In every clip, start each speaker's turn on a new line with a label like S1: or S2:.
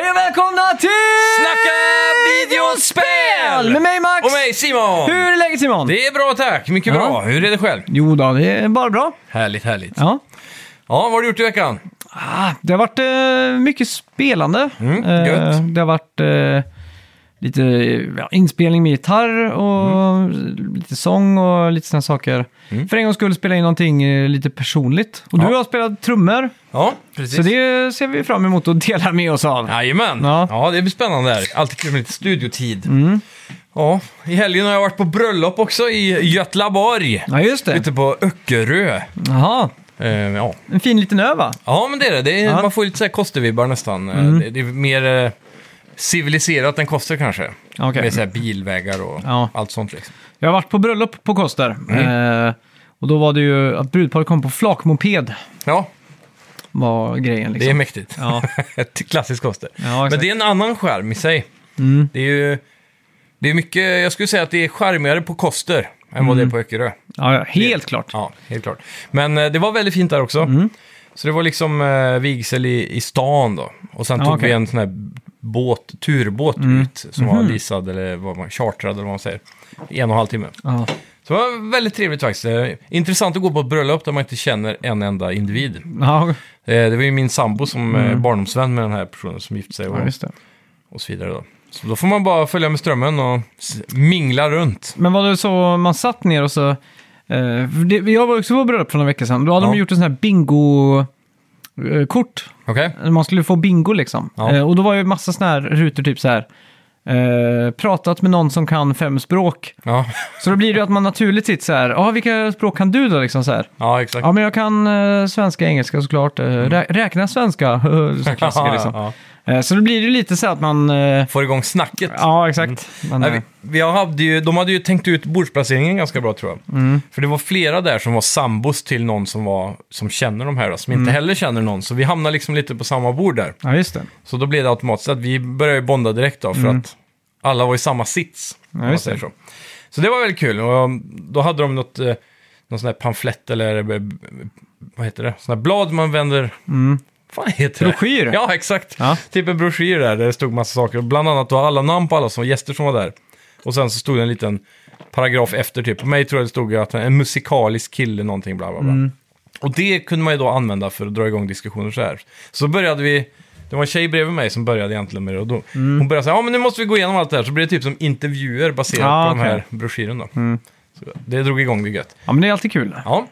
S1: och välkomna till
S2: Snacka videospel!
S1: Med mig Max!
S2: Och mig Simon!
S1: Hur är läget Simon?
S2: Det är bra tack, mycket
S1: Ja.
S2: bra. Hur är det själv?
S1: Jo då, det är bara bra.
S2: Härligt, härligt. Ja,
S1: Ja.
S2: vad har du gjort i veckan?
S1: Ah, det har varit eh, mycket spelande.
S2: Mm,
S1: Eh,
S2: gött.
S1: det har varit eh, lite ja, inspelning med gitarr och
S2: Mm.
S1: lite sång och lite sådana saker. För en gång skulle spela in någonting eh, lite personligt. Och du
S2: Ja.
S1: har spelat trummor,
S2: Ja, precis.
S1: så det ser vi fram emot att dela med oss av.
S2: Jajamän!
S1: Ja. Mm.
S2: Ja. det blir spännande där. Alltid kul med lite studiotid. Ja, i helgen har jag varit på bröllop också i Götlaborg.
S1: Ja, just det.
S2: Ute på Öckerö.
S1: Jaha,
S2: Eh, ja.
S1: en fin liten ö va?
S2: ja, men det är det. det är,
S1: Ja. Mm.
S2: Man får ju lite så här kostervibbar nästan. Eh, Det, det är mer eh, civiliserat än koster kanske.
S1: Okej.
S2: Med så här bilvägar och
S1: Ja.
S2: allt sånt liksom.
S1: Jag har varit på bröllop på Koster.
S2: Mm.
S1: Eh, och då var det ju att brudparet kom på flakmoped
S2: Ja,
S1: var grejen.
S2: det är
S1: Liksom.
S2: mäktigt.
S1: Ja.
S2: Ett klassiskt koster.
S1: Ja,
S2: Men
S1: exakt.
S2: det är en annan skärm i sig.
S1: Mm.
S2: Det är ju... Det är mycket, jag skulle säga att det är skärmigare på Koster än vad det
S1: Mm.
S2: är på Öckerö.
S1: Ja, ja, helt klart.
S2: Ja, helt klart. Men eh, det var väldigt fint där också.
S1: Mm.
S2: Så det var liksom eh, vigsel i, i stan då. Och sen
S1: Ja,
S2: tog
S1: okej. Mm. Mhm.
S2: vi en sån här båt, turbåt ut som var leasad eller vad man, chartrad eller vad man säger. I en och en halv timme.
S1: Ja.
S2: Så det var väldigt trevligt faktiskt. Eh, Intressant att gå på ett bröllop där man inte känner en enda individ.
S1: Ja,
S2: Eh, Det var ju min sambo som mm. barndomsvän med den här personen som gifte sig. Och,
S1: just det.
S2: och så vidare. Då. Så då får man bara följa med strömmen och s- mingla runt.
S1: Men var det så man satt ner och så... Eh, för det, jag var också på bröllop för några veckor sedan. Då hade
S2: Ja.
S1: de gjort en sån här bingo-kort.
S2: Okej?
S1: Man skulle få bingo liksom.
S2: Ja.
S1: Eh, och då var ju massa såna här rutor typ så här. Eh, pratat med någon som kan fem språk.
S2: Ja.
S1: Så då blir det ju att man naturligt sitter så här. Ja, ah, vilka språk kan du då liksom så här?
S2: ja, exakt.
S1: Ja, men jag kan eh, svenska, engelska såklart. Eh, rä- räkna svenska, så klassiker liksom.
S2: Mm. Ja,
S1: Eh, så då blir det ju lite så att man... Eh,
S2: Får igång snacket.
S1: ja, exakt. Man,
S2: Mm. Nej,
S1: eh,
S2: vi, vi hade ju, de hade ju tänkt ut bordsplaceringen ganska bra tror jag. För det var flera där som var sambos till någon som, var, som känner de här, då, som inte heller känner någon. Så vi hamnade liksom lite på samma bord där.
S1: ja, just det.
S2: Så då blev det automatiskt att vi började ju bonda direkt då, för att alla var i samma sits. om man
S1: Mm. just
S2: säger
S1: det.
S2: Så. så det var väldigt kul. Och um, då hade de något, eh, någon sån här pamflett eller eh, vad heter det? Sån här blad man vänder...
S1: Mm.
S2: Vad fan heter det?
S1: Broschyr.
S2: Ja, exakt.
S1: Ja.
S2: Typ en broschyr där, där det stod massa saker. Bland annat då alla namn på alla som gäster som var där. Och sen så stod det en liten paragraf efter typ. På mig tror jag det stod att en musikalisk kille någonting bla bla bla.
S1: Mm.
S2: Och det kunde man ju då använda för att dra igång diskussioner så här. Så började vi, det var en tjej bredvid mig som började egentligen med det. Och då,
S1: Mm.
S2: Hon började säga, ja men nu måste vi gå igenom allt det här. Så blev det typ som intervjuer baserat
S1: Ja,
S2: på de
S1: Ah, okej. Mm.
S2: här broschyren då. Så det drog igång det gött.
S1: Ja, men det är alltid kul.
S2: Ja.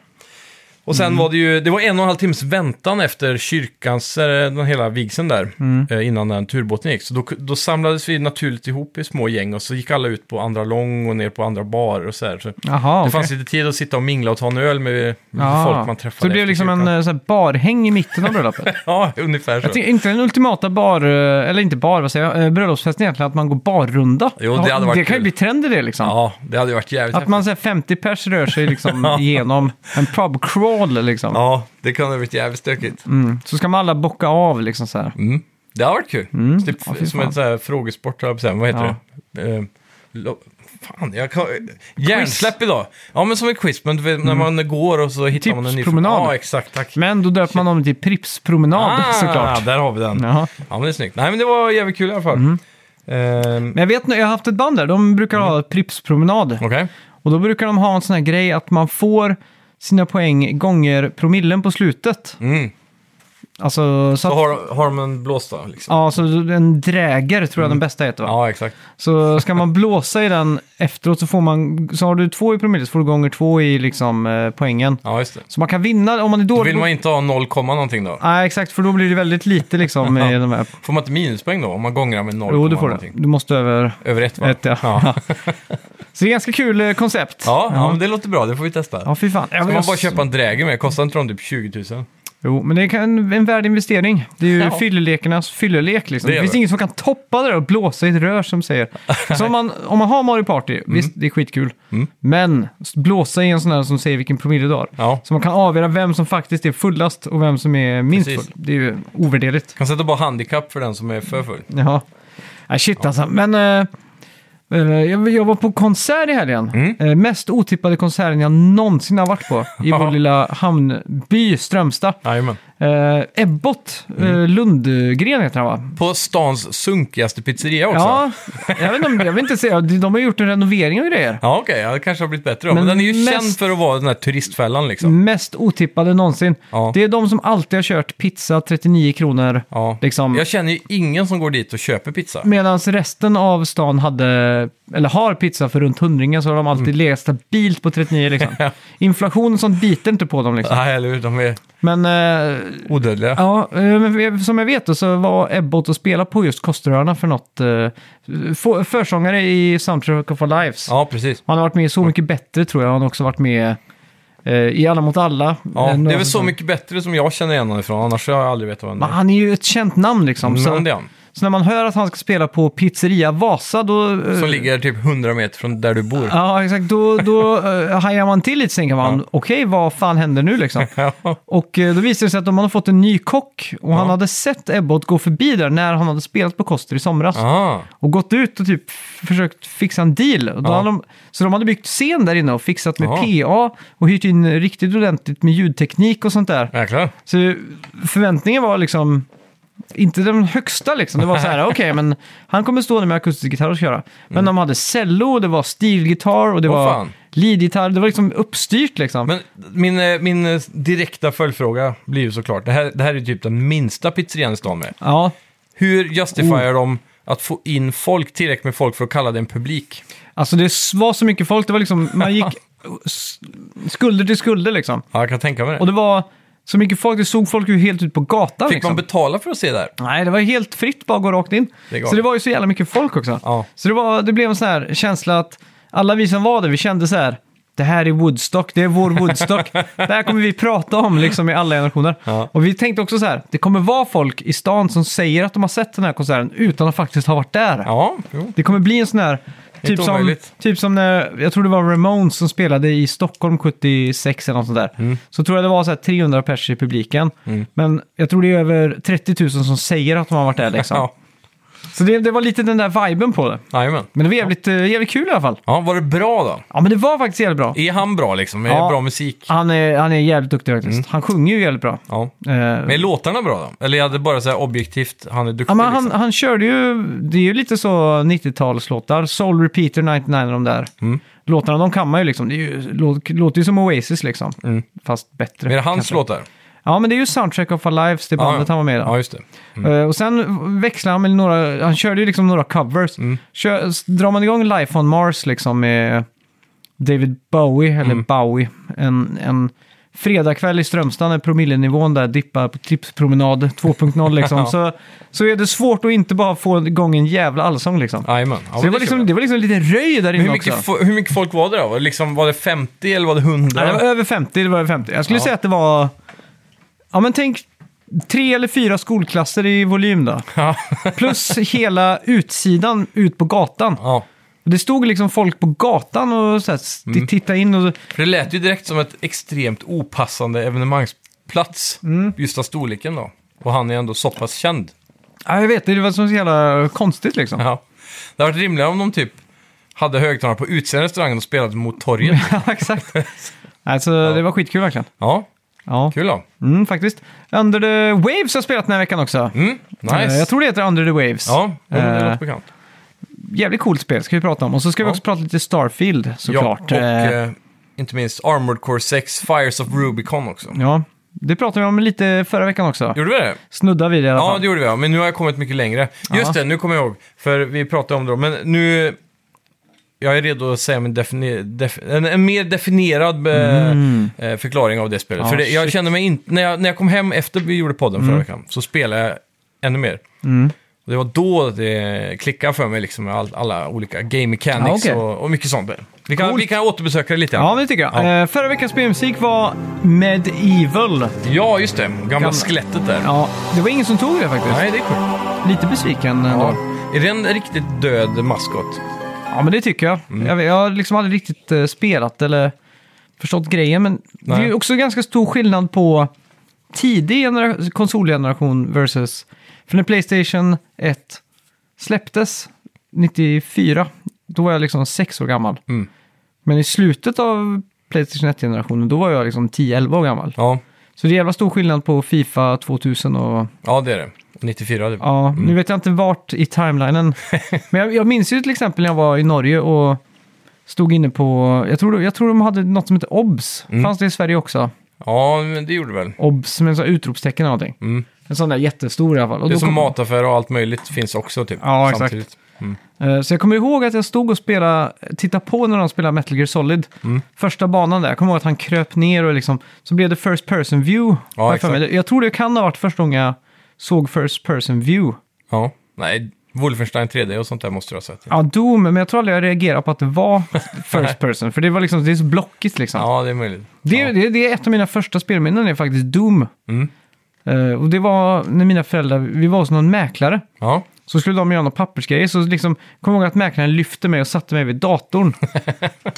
S2: Och
S1: Mm.
S2: sen var det ju, det var en och en halv timmes väntan efter kyrkans, eh, den hela vigseln där,
S1: Mm.
S2: eh, innan den turbåten gick. Så då, då samlades vi naturligt ihop i små gäng och så gick alla ut på andra lång och ner på andra barer och så här. Så
S1: Jaha,
S2: Det
S1: okej.
S2: fanns lite tid att sitta och mingla och ta en öl med, med
S1: Ja.
S2: folk man träffade.
S1: Så det blev
S2: efter
S1: liksom en
S2: kyrkan.
S1: eh, så här, barhäng i mitten av bröllopet?
S2: Ja, ungefär så.
S1: Jag tänker, inte den ultimata bar, eh, eller inte bar, vad säger jag, eh, bröllopsfesten egentligen, att man går barrunda.
S2: Jo, det hade
S1: Ja,
S2: varit
S1: Det kan ju
S2: kul.
S1: bli trend i det liksom.
S2: Ja, det hade ju varit jävligt
S1: Att man så här, 50 pers rör sig liksom genom en pub crawl liksom.
S2: Ja, det kunde ha varit jävligt stökigt.
S1: Mm. Så ska man alla bocka av liksom så här.
S2: Mm. Det har varit kul. Så
S1: Mm.
S2: Typ,
S1: Ja, fy
S2: som
S1: fan.
S2: en sån här frågesport, höll jag på att säga. Vad heter
S1: Ja.
S2: det? Eh, lo- fan, jag kan... Hjärnsläpp idag. Ja, men som ett quiz. Men du vet, när
S1: Mm.
S2: man går och så hittar man en ny...
S1: Tipspromenad.
S2: Ja, exakt. Tack. Ah,
S1: Men då döper man om till Pripspromenad såklart.
S2: där har vi den. Ja.
S1: Ja. Mm.
S2: men det är snyggt. Nej, men det var jävligt kul i alla fall. Ehm,
S1: Men jag vet nu, jag har haft ett band där, de brukar ha Pripspromenad.
S2: Okej.
S1: Och då brukar de ha en sån här grej att man får sina poäng gånger promillen på slutet.
S2: Mm.
S1: Alltså, så
S2: Då
S1: att,
S2: har, har de en blås då, liksom.
S1: ja, så en dräger tror jag den bästa heter va?
S2: Mm. Ja, exakt.
S1: Så ska man blåsa i den efteråt så får man, så har du två i promille så får du gånger två i liksom eh, poängen.
S2: Ja, just det.
S1: Så man kan vinna om man är
S2: Då
S1: dålig.
S2: vill man inte ha 0, någonting då?
S1: Nej, exakt, för då blir det väldigt lite liksom i de här.
S2: Får man inte minuspoäng då om man gångrar med 0,
S1: Jo, du får det.
S2: någonting?
S1: Du måste över
S2: Över ett va?
S1: ett, ja.
S2: Ja.
S1: Så det är ganska kul eh, koncept.
S2: Ja, ja, men det låter bra. Det får vi testa.
S1: Ja, fy fan. Jag
S2: Ska
S1: vill-
S2: man bara köpa en dräger med? Kostar inte de typ 20 000?
S1: Jo, men det kan en värd investering. Det är ju
S2: Ja.
S1: fyllelekernas fyllelek liksom.
S2: Det
S1: Det,
S2: är
S1: finns
S2: det.
S1: inget som kan toppa det där och blåsa i ett rör som säger. Så om man, om man har Mario Party,
S2: Mm.
S1: visst det är skitkul. Men s- blåsa i en sån där som säger vilken promille du har.
S2: Ja.
S1: Så man kan avgöra vem som faktiskt är fullast och vem som är minst
S2: Precis.
S1: full. Det är ju ovärderligt.
S2: Kan sätta bara handikapp för den som är för full.
S1: Ja. Nej, shit alltså. Men eh, eh, jag, jag var på konsert i helgen.
S2: Mm.
S1: Eh, mest otippade konserten jag någonsin har varit på. I vår
S2: Ja.
S1: lilla hamnby Strömstad.
S2: Jajamän.
S1: Eh, Ebbot
S2: Mm.
S1: eh, Lundgren heter han va?
S2: På stans sunkigaste pizzeria också.
S1: Ja, jag vet, inte, jag vill inte säga, de har gjort en renovering och grejer.
S2: Ja, okej. ja, det kanske har blivit bättre då. Men,
S1: Men
S2: den är ju
S1: mest- Mm.
S2: känd för att vara den här turistfällan liksom.
S1: Mest otippade någonsin.
S2: Ja.
S1: Det är de som alltid har kört pizza 39 kronor.
S2: Ja.
S1: Liksom.
S2: Jag känner ju ingen som går dit och köper pizza.
S1: Medan resten av stan hade, eller har pizza för runt hundringen så har de alltid legat stabilt på 39 liksom.
S2: Mm. Ja.
S1: Inflation och sånt biter inte på dem liksom.
S2: Nej, eller hur? De är
S1: Men eh,
S2: odödliga.
S1: ja, eh, men vi- som jag vet då, så var Ebbot och spela på just Kosteröarna för något. Eh, få- försångare i Soundtrack of Our Lives.
S2: Ja, precis.
S1: Han har varit med i Så Mycket Bättre tror jag. Han har också varit med eh, i Alla mot alla.
S2: Ja,
S1: Eh,
S2: det är
S1: några
S2: väl så
S1: som-
S2: mycket bättre som jag känner igen honom ifrån, annars har jag aldrig vetat vad
S1: Men
S2: han
S1: han är ju ett känt namn liksom.
S2: är. Men det är
S1: Så,
S2: Mm, han.
S1: så när man hör att han ska spela på Pizzeria Vasa då... eh,
S2: Som ligger typ 100 meter från där du bor.
S1: Ja, exakt. Då, då eh, hajar man till lite, tänker man. Okej, vad fan händer nu liksom?
S2: Ja.
S1: Och eh, då visar det sig att de hade fått en ny kock och han
S2: Ja.
S1: hade sett Ebbot gå förbi där när han hade spelat på Koster i somras.
S2: Ah,
S1: Och gått ut och typ f- försökt fixa en deal. Och Då
S2: Ja.
S1: hade de, så de hade byggt scen där inne och fixat med
S2: Ja.
S1: PA och hyrt in riktigt ordentligt med ljudteknik och sånt där.
S2: jäklar.
S1: Så förväntningen var liksom inte den högsta liksom. Det var så här, okej, men han kommer stå där med akustisk gitarr och köra. Men de hade cello, det var stilgitarr och det
S2: Mm. Åh,
S1: var
S2: fan.
S1: leadgitarr. Det var liksom uppstyrt liksom.
S2: Men min, eh, min eh, direkta följdfråga blir ju såklart, det här, det här är ju typ den minsta pizzerian i stan med.
S1: ja,
S2: Hur justifierar de att få in folk, tillräckligt med folk för att kalla det en publik?
S1: alltså det var så mycket folk. Det var liksom, man gick s- skulder till skulder liksom.
S2: Ja, jag kan tänka mig det.
S1: Och det var så mycket folk, det såg folk ju helt ut på gatan
S2: Fick man
S1: liksom.
S2: betala för att se där?
S1: Nej, det var helt fritt, bara gå rakt in.
S2: Det är galet.
S1: så det var ju så jävla mycket folk också.
S2: Ja.
S1: Så det, var, det blev en sån här känsla att alla vi som var där, vi kände så här, det här är Woodstock, det är vår Woodstock. det här kommer vi prata om liksom i alla generationer.
S2: Ja.
S1: Och vi tänkte också så här, det kommer vara folk i stan som säger att de har sett den här konserten utan att faktiskt ha varit där.
S2: Ja, jo.
S1: Det kommer bli en sån här, typ
S2: Inte
S1: som,
S2: omöjligt.
S1: typ som när, jag tror det var Ramones som spelade i Stockholm 76 eller något sånt där.
S2: Mm.
S1: Så tror jag det var så här 300 pers i publiken. Men jag tror det är över 30 000 som säger att de har varit där liksom.
S2: Ja,
S1: Så det, det var lite den där viben på det.
S2: jajamän.
S1: Men det var jävligt, eh, jävligt kul i alla fall.
S2: Ja, var det bra då?
S1: Ja, men det var faktiskt jävligt bra.
S2: Är han bra liksom? Är det
S1: Ja.
S2: bra musik?
S1: Han är, han är jävligt duktig faktiskt. Han sjunger ju jävligt bra.
S2: Ja.
S1: Eh,
S2: Mm. Men är låtarna bra då? Eller jag hade bara så här objektivt, han är duktig
S1: ja, men han,
S2: liksom.
S1: han körde ju, det är ju lite så 90-talslåtar. Soul Repeater 99 och de där.
S2: Mm.
S1: Låtarna de kan man ju liksom. Det är ju, lå- låter ju som Oasis liksom.
S2: Mm.
S1: Fast bättre.
S2: Är det hans
S1: kanske.
S2: låtar?
S1: Ja, men det är ju Soundtrack of Our Lives, det bandet han var med i. då.
S2: Ja, just det.
S1: Eh, och sen växlar han med några, han körde ju liksom några covers.
S2: Mm.
S1: Kör, s- drar man igång Life on Mars liksom med David Bowie, eller
S2: Mm.
S1: Bowie, en, en fredagkväll i Strömstad när promillenivån där dippar på tipspromenad 2.0 liksom.
S2: Ja.
S1: så, så är det svårt att inte bara få igång en jävla allsång liksom.
S2: Jajamän. Ja,
S1: så det, var
S2: men kör jag.
S1: liksom, det var liksom lite röj där
S2: Men Hur
S1: inne också.
S2: mycket, fo- hur mycket folk var det då? Var det, liksom, var det 50 eller var det 100?
S1: Nej, det var över 50, det var över 50. Jag skulle
S2: Ja.
S1: säga att det var, ja men tänk tre eller fyra skolklasser i volym då.
S2: Ja.
S1: Plus hela utsidan ut på gatan.
S2: ja.
S1: Och Det stod liksom folk på gatan och så här, s-
S2: Mm.
S1: tittade in och...
S2: För det lät ju direkt som ett extremt opassande evenemangsplats.
S1: Mm.
S2: Just av storleken då. Och han är ändå så pass känd.
S1: Ja, jag vet, det var så jävla konstigt liksom.
S2: Ja. Det hade varit rimligare om de typ hade högtalare på utsidan av restaurangen och spelat mot torget.
S1: Ja, exakt. Alltså, det var skitkul verkligen.
S2: Ja,
S1: Ja,
S2: kul då.
S1: mm, faktiskt. Under the Waves har jag spelat den här veckan också.
S2: Mm, nice.
S1: Eh, Jag tror det heter Under the Waves.
S2: Ja, jo, men det
S1: Eh,
S2: låter bekant.
S1: Jävligt coolt spel, ska vi prata om. Och så ska vi
S2: Ja.
S1: också prata lite Starfield, såklart.
S2: Ja, och
S1: Eh,
S2: eh, inte minst Armored Core 6, Fires of Rubicon också.
S1: ja, det pratade vi om lite förra veckan också.
S2: Gjorde vi det?
S1: Snuddade vi det i alla
S2: Ja,
S1: fall.
S2: det gjorde vi. ja. Men nu har jag kommit mycket längre. Just
S1: Ja.
S2: det, nu kommer jag ihåg. För vi pratade om det då. Men nu... Jag är redo att säga min defini- def- en, en mer definierad eh, eh, förklaring av det spelet.
S1: Mm. Ja,
S2: för det, jag
S1: shit. Mm.
S2: kände mig inte... När jag, när jag kom hem efter vi gjorde podden förra veckan så spelade jag ännu mer. Och det var då det klickade för mig liksom med all, alla olika game mechanics
S1: Ja, okej.
S2: och, och mycket sånt. där. Vi kan,
S1: Coolt.
S2: vi kan återbesöka det lite.
S1: Ja, men det tycker jag.
S2: Ja.
S1: Eh, förra veckans spelmusik var Medieval.
S2: Ja, just det. Gamla,
S1: Gamla.
S2: skelettet där.
S1: Ja, det var ingen som tog det faktiskt.
S2: Nej, det är coolt.
S1: Lite besviken
S2: Ja.
S1: ändå.
S2: Är det en riktigt död maskot?
S1: Ja, men det tycker jag.
S2: Mm.
S1: Jag, vet- jag har liksom aldrig riktigt eh, spelat eller förstått grejen, men det är
S2: Nej.
S1: ju också ganska stor skillnad på tidig genera- konsolgeneration versus... För när Playstation 1 släpptes 94, då var jag liksom sex år gammal.
S2: Mm.
S1: Men i slutet av Playstation 1-generationen, då var jag liksom 10-11 år gammal.
S2: Ja.
S1: Så Så det är jävla stor skillnad på Fifa 2000 och...
S2: Ja, det är det. typ. 94 det.
S1: Ja, nu vet jag inte vart i timelinen. Men jag, jag minns ju till exempel när jag var i Norge och stod inne på... Jag tror, jag tror de hade något som hette OBS.
S2: Mm.
S1: Fanns det i Sverige också?
S2: Ja, men det gjorde det väl.
S1: OBS med en sån här utropstecken eller någonting.
S2: Mm.
S1: En sån där jättestor i alla fall. Och
S2: Det är
S1: då
S2: som
S1: kom-
S2: mataffär och allt möjligt finns också typ.
S1: Ja, exakt.
S2: samtidigt.
S1: Eh, Så jag kommer ihåg att jag stod och spelade, tittade på när de spelade Metal Gear Solid.
S2: Mm.
S1: Första banan där, jag kommer ihåg att han kröp ner och liksom, så blev det First Person View.
S2: Ja,
S1: har jag för mig.
S2: exakt.
S1: Jag tror det kan ha varit första gången jag såg First Person View.
S2: Ja. Nej, Wolfenstein 3D och sånt där måste du ha sett.
S1: Ja, Doom, men jag tror aldrig jag reagerade på att det var First Person, för det var liksom, det är så blockigt liksom.
S2: Ja, det är möjligt.
S1: Det,
S2: ja.
S1: det, det är ett av mina första spelminnen, är faktiskt Doom.
S2: Mm.
S1: Eh, och det var när mina föräldrar, vi var hos någon mäklare.
S2: Ja.
S1: Så skulle de göra några pappersgrejer, så liksom, kom jag ihåg att mäklaren lyfte mig och satte mig vid datorn.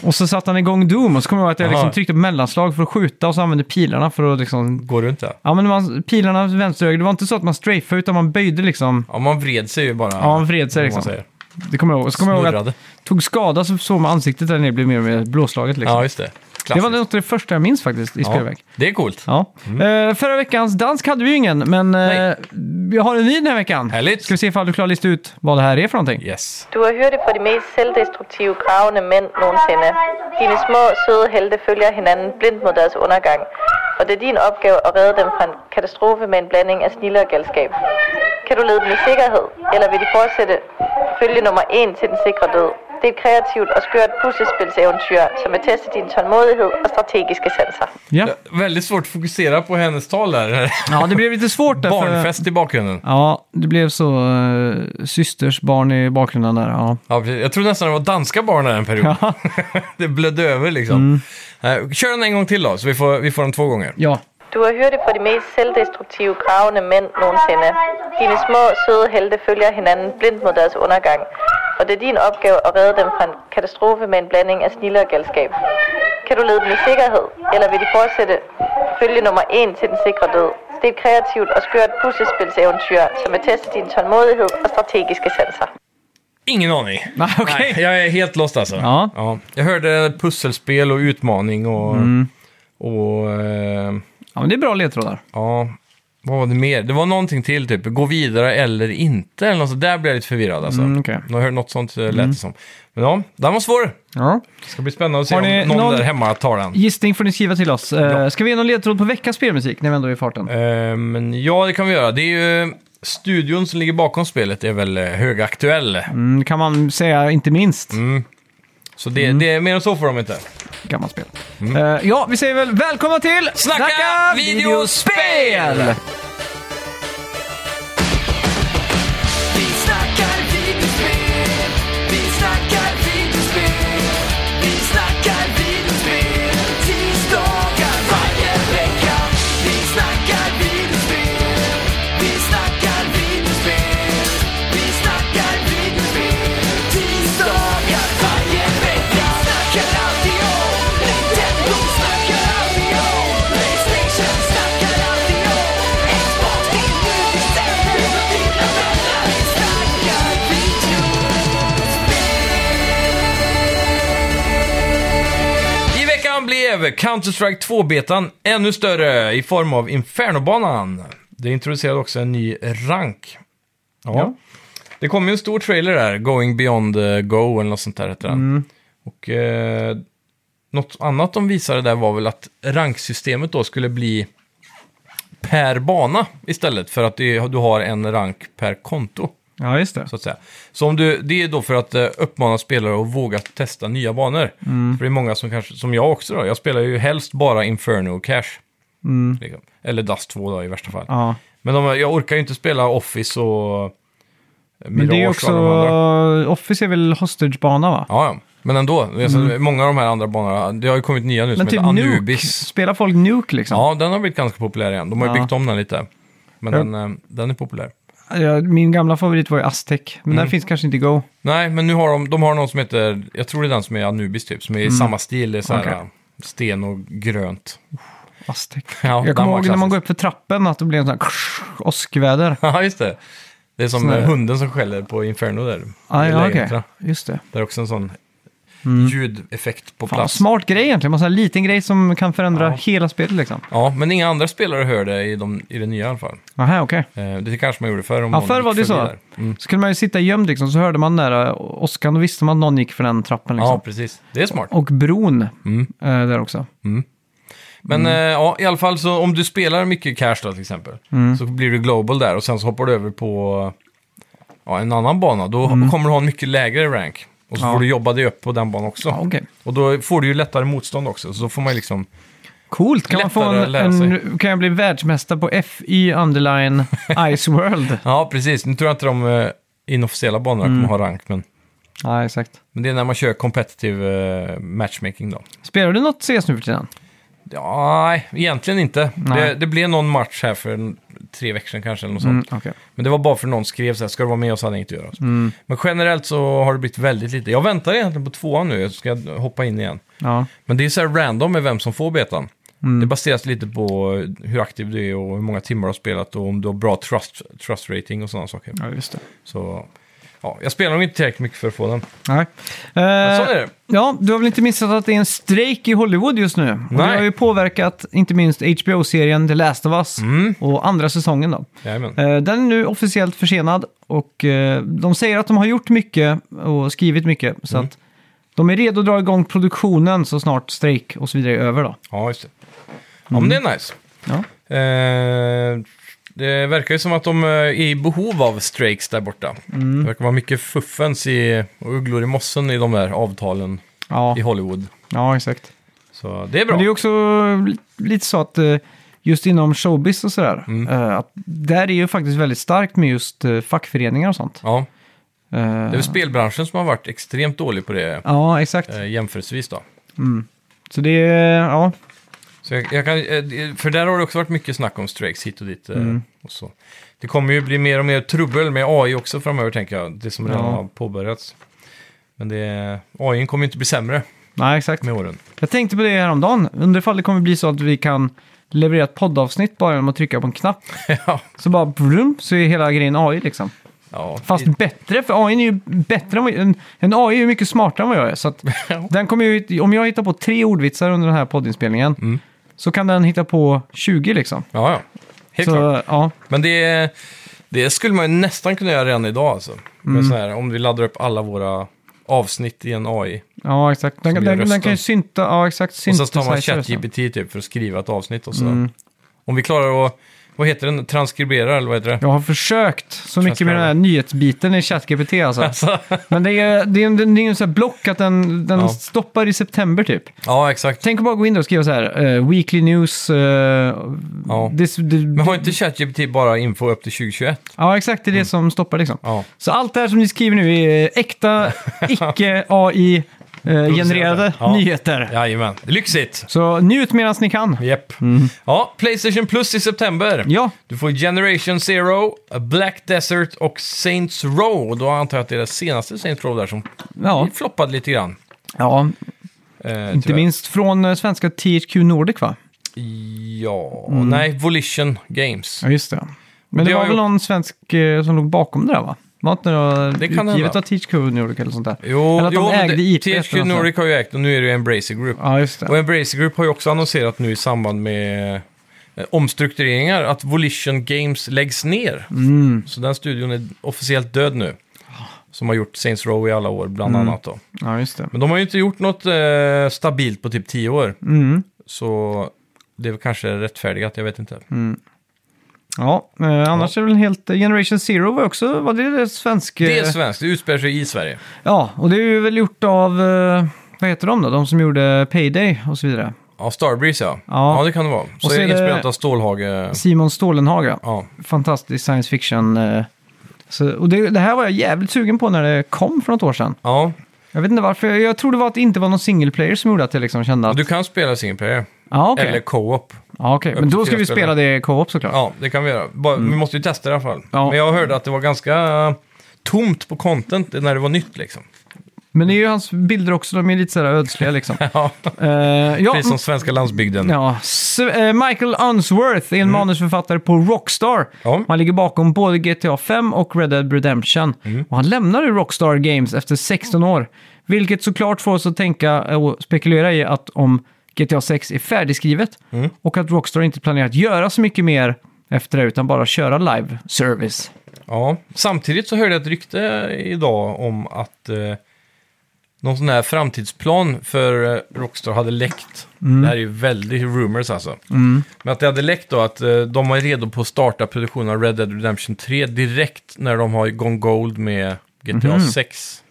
S1: och så satte han igång Doom och så kom jag ihåg att jag
S2: Jaha.
S1: liksom tryckte på mellanslag för att skjuta och så använde pilarna för att liksom...
S2: Går runt där.
S1: Ja men man, pilarna vänster och höger, det var inte så att man strafade utan man böjde liksom.
S2: Ja, man vred sig ju bara.
S1: Ja, man vred sig
S2: om man
S1: liksom.
S2: säger.
S1: Det kommer jag ihåg. Så kommer jag ihåg att
S2: Snurrade.
S1: tog skada så såg man ansiktet där nere blev mer och mer blåslaget liksom.
S2: Ja, just det.
S1: det
S2: Klassiskt.
S1: var något av det första jag minns faktiskt i
S2: ja.
S1: spelväg.
S2: Det är coolt.
S1: Ja. Eh, förra veckans dansk hade vi ju ingen, men eh,
S2: Nej.
S1: jag har en ny den här veckan.
S2: Härligt.
S1: Ska vi se ifall du klarar att lista ut vad det här är för någonting.
S2: Yes.
S3: Du har hørt det fra de mest selvdestruktive gravende mænd nogensinde. Dine små, søde helte følger hinanden blindt mod deres undergang, og det er din opgave at redde dem fra en katastrofe med en blanding af snille og galskab. Kan du lede dem i sikkerhed, eller vil de fortsætte følge nummer 1 til den sikre død? Det er et kreativt og skørt puslespilseventyr, som vil teste din tålmodighed og strategiske sanser.
S1: Ja.
S2: Väldigt svårt att fokusera på hennes tal där.
S1: ja, det blev lite svårt där. för-
S2: Barnfest i bakgrunden.
S1: Ja, det blev så uh, systers barn i bakgrunden där. Ja.
S2: Ja, precis. jag tror nästan det var danska barn där en period. det blödde över liksom.
S1: Mm.
S2: Eh, Kör den en gång till då, så vi får, vi får den två gånger.
S1: ja.
S3: Du har hørt det fra de mest selvdestruktive gravende mænd nogensinde. Dine små, søde helte følger hinanden blindt mod deres undergang. Og det er din opgave at redde dem fra en katastrofe med en blanding af snille og galskab. Kan du lede dem i sikkerhed, eller vil de fortsætte følge nummer 1 til den sikre død? Det er et kreativt og skørt puslespilseventyr, som vil teste din tålmodighed og strategiske sanser.
S2: Ingen aning.
S1: Nej, okej.
S2: Nej, jag är helt lost alltså.
S1: Ja.
S2: Jag hörde pusselspel och utmaning och...
S1: Mm.
S2: och eh,
S1: ja, men det är bra ledtrådar.
S2: ja, vad var det mer? Det var någonting till, typ gå vidare eller inte. Eller något, sånt. där blev jag lite förvirrad alltså.
S1: Mm, okej. Mm.
S2: Jag hörde något sånt eh, lät det som. Men ja, den var svår.
S1: Ja.
S2: Det ska bli spännande att se
S1: Har
S2: om
S1: ni
S2: någon,
S1: någon-
S2: där hemma tar den.
S1: Gissning får ni skriva till oss. Eh, Ska vi ge någon ledtråd på veckans spelmusik när vi ändå är i farten?
S2: Eh, Men ja, det kan vi göra. Det är ju... Studion som ligger bakom spelet är väl eh, högaktuell.
S1: Mm, kan man säga inte minst.
S2: Så det, det är mer än så får de inte.
S1: Gammalt spel. Eh, ja, vi säger väl välkomna till
S2: Mm. Snacka videospel!
S4: Vi snackar videospel, vi snackar videospel, vi snackar videospel, tisdagar varje vecka. Vi snackar videospel, vi snackar videospel, vi snackar videospel, tisdagar varje vecka. Snackar alltid om Nintendo, snackar alltid om Playstation, snackar alltid om Xbox, det är nu vi sänder med dina vänner. Vi snackar videospel.
S2: I veckan blev Counter-Strike 2-betan ännu större i form av Infernobanan. Det introducerade också en ny rank. Ja.
S1: Ja.
S2: Det kom ju en stor trailer där, Going Beyond eh, Go eller något sånt där heter den. Och eh, något annat de visade där var väl att ranksystemet då skulle bli per bana istället för att det- du har en rank per konto.
S1: Ja, just det.
S2: Så att säga. Så om du, det är då för att eh, uppmana spelare att våga testa nya banor.
S1: Mm.
S2: För det är många som kanske, som jag också då, jag spelar ju helst bara Inferno och Cash. Liksom. Eller Dust 2 då i värsta fall.
S1: Mm. Ja.
S2: Men om, jag- jag orkar ju inte spela Office och eh,
S1: Men
S2: Mirage
S1: det är ju
S2: och
S1: också...
S2: alla de andra.
S1: Office är väl Hostage-bana, va?
S2: Ja, ja. Men ändå, alltså, många av de här andra banorna, det har ju kommit nya nu som
S1: Mm. Men typ Nuke.
S2: heter Anubis.
S1: Spelar folk Nuke liksom?
S2: Ja, den har blivit ganska populär igen. De har ju
S1: Ja.
S2: byggt om den lite. Men
S1: Ja.
S2: den, eh, den är populär.
S1: Ja, Min gamla favorit var ju Aztec, men
S2: Mm.
S1: den finns kanske inte i Go.
S2: Nej, men nu har de, de har någon som heter, jag tror det är den som är Anubis typ, som är i samma stil, det är så här
S1: Mm. Okej.
S2: sten och grönt.
S1: Aztec.
S2: Ja, den
S1: jag kommer
S2: var
S1: ihåg när man
S2: klassisk.
S1: går upp för trappen att det blir en sån här krusch, åskväder.
S2: Ja, just det. Det är som
S1: Sån här-
S2: hunden som skäller på Inferno där.
S1: Ah,
S2: i
S1: ja, okej.
S2: lägenheterna.
S1: Just det.
S2: Det är också en sån ljudeffekt på
S1: Fan,
S2: plats.
S1: smart grej egentligen. Man har en liten grej som kan förändra
S2: Ja.
S1: hela spelet liksom.
S2: Ja, men inga andra spelare hör det i, de, i det nya i alla fall.
S1: Aha, okej.
S2: Eh, Det kanske man gjorde förr. om
S1: Ja,
S2: någon
S1: förr
S2: gick
S1: var det ju
S2: förbi
S1: så.
S2: där. Mm.
S1: Så kunde man ju sitta gömd liksom, så hörde man den där eh, åskan, då visste man att någon gick för den trappen liksom.
S2: Ja, precis. Det är smart.
S1: Och bron
S2: Mm.
S1: eh, där också.
S2: Men
S1: Mm.
S2: eh, ja, i alla fall så om du spelar mycket cash då till exempel,
S1: Mm.
S2: så blir du global där och sen så hoppar du över på ja, en annan bana. Då kommer du ha en mycket lägre rank. Och så
S1: Mm. Ja.
S2: får du jobba dig upp på den banan också.
S1: Ja, okej.
S2: Och då får du ju lättare motstånd också. Så då får man ju liksom...
S1: Coolt! Kan, man få
S2: Lättare att
S1: en,
S2: lära sig.
S1: en, kan jag bli världsmästare på FY Underline Ice World?
S2: Ja, precis. Nu tror jag inte de eh, inofficiella banorna
S1: Mm.
S2: kommer ha rank, men,
S1: Ja, exakt.
S2: men det är när man kör competitive eh, matchmaking då.
S1: Spelar du något CS nu för tiden?
S2: Ja, nej, egentligen inte.
S1: Nej.
S2: Det, det blev någon match här för en- tre veckor sedan kanske, eller något sånt.
S1: Mm, okej.
S2: Men det var bara för någon skrev så här, ska du vara med oss hade jag inget att göra. Men generellt så har det blivit väldigt lite. Jag väntar egentligen på tvåan nu, jag ska hoppa in igen.
S1: Ja.
S2: Men det är så här random med vem som får betan. Det baseras lite på hur aktiv du är och hur många timmar du har spelat och om du har bra trust, trust rating och sådana saker.
S1: ja, just det.
S2: Så ja, jag spelar nog inte tillräckligt mycket för att få den.
S1: Nej.
S2: Men
S1: Eh,
S2: så är det.
S1: ja, du har väl inte missat att det är en strejk i Hollywood just nu? Och det
S2: Nej.
S1: har ju påverkat inte minst HBO-serien The Last of Us
S2: Mm.
S1: och andra säsongen då.
S2: Jajamän.
S1: Eh, Den är nu officiellt försenad och eh, de säger att de har gjort mycket och skrivit mycket. Så
S2: Mm.
S1: att de är redo att dra igång produktionen så snart strejk och så vidare är över då.
S2: Ja, just det. Ja, men det är nice.
S1: Ja,
S2: Eh, det verkar ju som att de eh, är i behov av strikes där borta.
S1: Mm.
S2: Det verkar vara mycket fuffens i, och ugglor i mossen i de där avtalen
S1: ja.
S2: i Hollywood.
S1: ja exakt.
S2: Så det är bra.
S1: Men det är också li- lite så att eh, just inom showbiz och sådär,
S2: Mm.
S1: eh, att där är ju faktiskt väldigt starkt med just eh, fackföreningar och sånt.
S2: Ja,
S1: Eh,
S2: det är väl spelbranschen som har varit extremt dålig på det
S1: Ja, exakt. Mm.
S2: eh, jämförelsevis då.
S1: Så det är, ja,
S2: Så jag, jag kan, eh, det- för där har det också varit mycket snack om strikes hit och dit. eh,
S1: Mm.
S2: Och så. Det kommer ju bli mer och mer trubbel med AI också framöver tänker jag. Det som redan
S1: Ja.
S2: har påbörjats. Men det, AI kommer ju inte bli sämre
S1: nej exakt.
S2: med åren.
S1: Jag tänkte på det häromdagen, undrar ifall det kommer bli så att vi kan leverera ett poddavsnitt bara genom att trycka på en knapp.
S2: ja,
S1: Så bara brum, så är hela grejen AI liksom.
S2: ja,
S1: Fast
S2: i-
S1: bättre, för AI är ju bättre än vad, en, en AI är ju mycket smartare än vad jag är. Så att
S2: Ja.
S1: den kommer ju, om jag hittar på tre ordvitsar under den här poddinspelningen,
S2: Mm.
S1: så kan den hitta på 20 liksom.
S2: ja, ja. Helt klart.
S1: så, ja,
S2: Men det, det skulle man ju nästan kunna göra redan idag alltså.
S1: Mm.
S2: Med så här, om vi laddar upp alla våra avsnitt i en AI.
S1: ja, exakt. Den,
S2: Som
S1: den,
S2: gör
S1: den, kan
S2: rösten.
S1: ju synta, ja exakt,
S2: Och så tar man
S1: synthesizer och så.
S2: ChatGPT typ för att skriva ett avsnitt och så.
S1: Mm.
S2: Om vi klarar att, vad heter den, transkribera eller vad heter det?
S1: Jag har försökt så mycket med den här
S2: Transparent.
S1: nyhetsbiten i ChatGPT alltså.
S2: Alltså,
S1: Men det är, det är, en- det är en sån här block att den, den
S2: Ja.
S1: stoppar i september typ.
S2: ja, exakt.
S1: Tänk att bara gå in där och skriva så här, eh, Weekly News, eh,
S2: Ja.
S1: this,
S2: Men har inte ChatGPT bara info upp till 2021?
S1: Ja, exakt. Det är det som stoppar liksom.
S2: Ja.
S1: Så allt det här som ni skriver nu är eh, äkta, icke-AI-genererade
S2: Ja.
S1: eh, nyheter.
S2: Jajamän, lyxigt!
S1: Så njut medan ni kan.
S2: Japp. Ja, Playstation Plus i september.
S1: Mm. Ja,
S2: Du får Generation Zero, Black Desert och Saints Row. Och Då antar jag att det är det senaste Saints Row där som
S1: ja,
S2: floppade lite grann.
S1: ja.
S2: Eh,
S1: inte
S2: tyvärr.
S1: minst från eh, svenska THQ Nordic va?
S2: Ja,
S1: Mm.
S2: nej, Volition Games.
S1: Ja, just det. Men
S2: Det
S1: det, var
S2: har
S1: väl
S2: ju-
S1: någon svensk eh, som låg bakom det där va? Var inte det,
S2: Det kan
S1: utgivet
S2: hända.
S1: av THQ Nordic eller sånt där?
S2: Jo,
S1: eller att
S2: jo
S1: de
S2: men
S1: ägde
S2: det-
S1: IP.
S2: THQ
S1: eller något sånt.
S2: Nordic har ju ägt och nu är det ju Embracer Group.
S1: Ja, just
S2: Och
S1: det.
S2: Embracer Group har ju också annonserat nu i samband med eh, omstruktureringar att Volition Games läggs ner.
S1: Mm.
S2: Så den studion är officiellt död nu. Som har gjort Saints Row i alla år, bland
S1: Mm.
S2: annat då.
S1: Ja, just det.
S2: Men de har ju inte gjort något eh, stabilt på typ tio år.
S1: Mm.
S2: Så det är väl kanske rättfärdigat, jag vet inte.
S1: Mm. Ja, eh, annars är det väl helt... Generation Zero var ju också... Var det det svenska...
S2: Det är svenskt, det utspelar sig i Sverige.
S1: Ja, och det är ju väl gjort av, eh, vad heter de då? De som gjorde Payday och så vidare.
S2: Ja, Starbreeze ja.
S1: Ja.
S2: Ja, det kan det vara. Så,
S1: så
S2: är
S1: är
S2: det
S1: det-
S2: inspirerat av Stålhage.
S1: Simon Stålenhaga.
S2: Ja,
S1: Fantastisk science fiction. eh, Så, och det, det här var jag jävligt sugen på när det kom för något år sedan.
S2: ja.
S1: Jag vet inte varför. Jag, jag tror det var att det inte var någon single player som gjorde att jag liksom kände att...
S2: du kan spela single player.
S1: Ja, okej.
S2: Eller co-op.
S1: Ja, okej. Men
S2: upp till
S1: då ska
S2: fyra
S1: vi spela
S2: spelare.
S1: det i co-op såklart.
S2: Ja, det kan vi göra. Bara, Vi måste ju testa det i alla fall.
S1: Ja.
S2: Men jag hörde att det var ganska tomt på content när det var nytt liksom.
S1: Men det är ju hans bilder också, de är lite sådär ödsliga liksom.
S2: Ja,
S1: Eh, ja,
S2: precis som svenska landsbygden.
S1: Ja, S- eh, Michael Unsworth är en manusförfattare på Rockstar.
S2: Ja.
S1: Han ligger bakom både GTA 5 och Red Dead Redemption. Och han lämnade Rockstar Games efter 16 år. Vilket såklart får oss att tänka eh, och spekulera i att om GTA 6 är färdigskrivet och att Rockstar inte planerar att göra så mycket mer efter det utan bara köra live service.
S2: Ja. Samtidigt så hörde jag ett rykte idag om att eh, någon sån här framtidsplan för eh, Rockstar hade läckt.
S1: Mm.
S2: Det här är ju väldigt rumors alltså. Men att det hade läckt då att eh, de var redo på att starta produktionen av Red Dead Redemption 3 direkt när de har gone gold med GTA 6.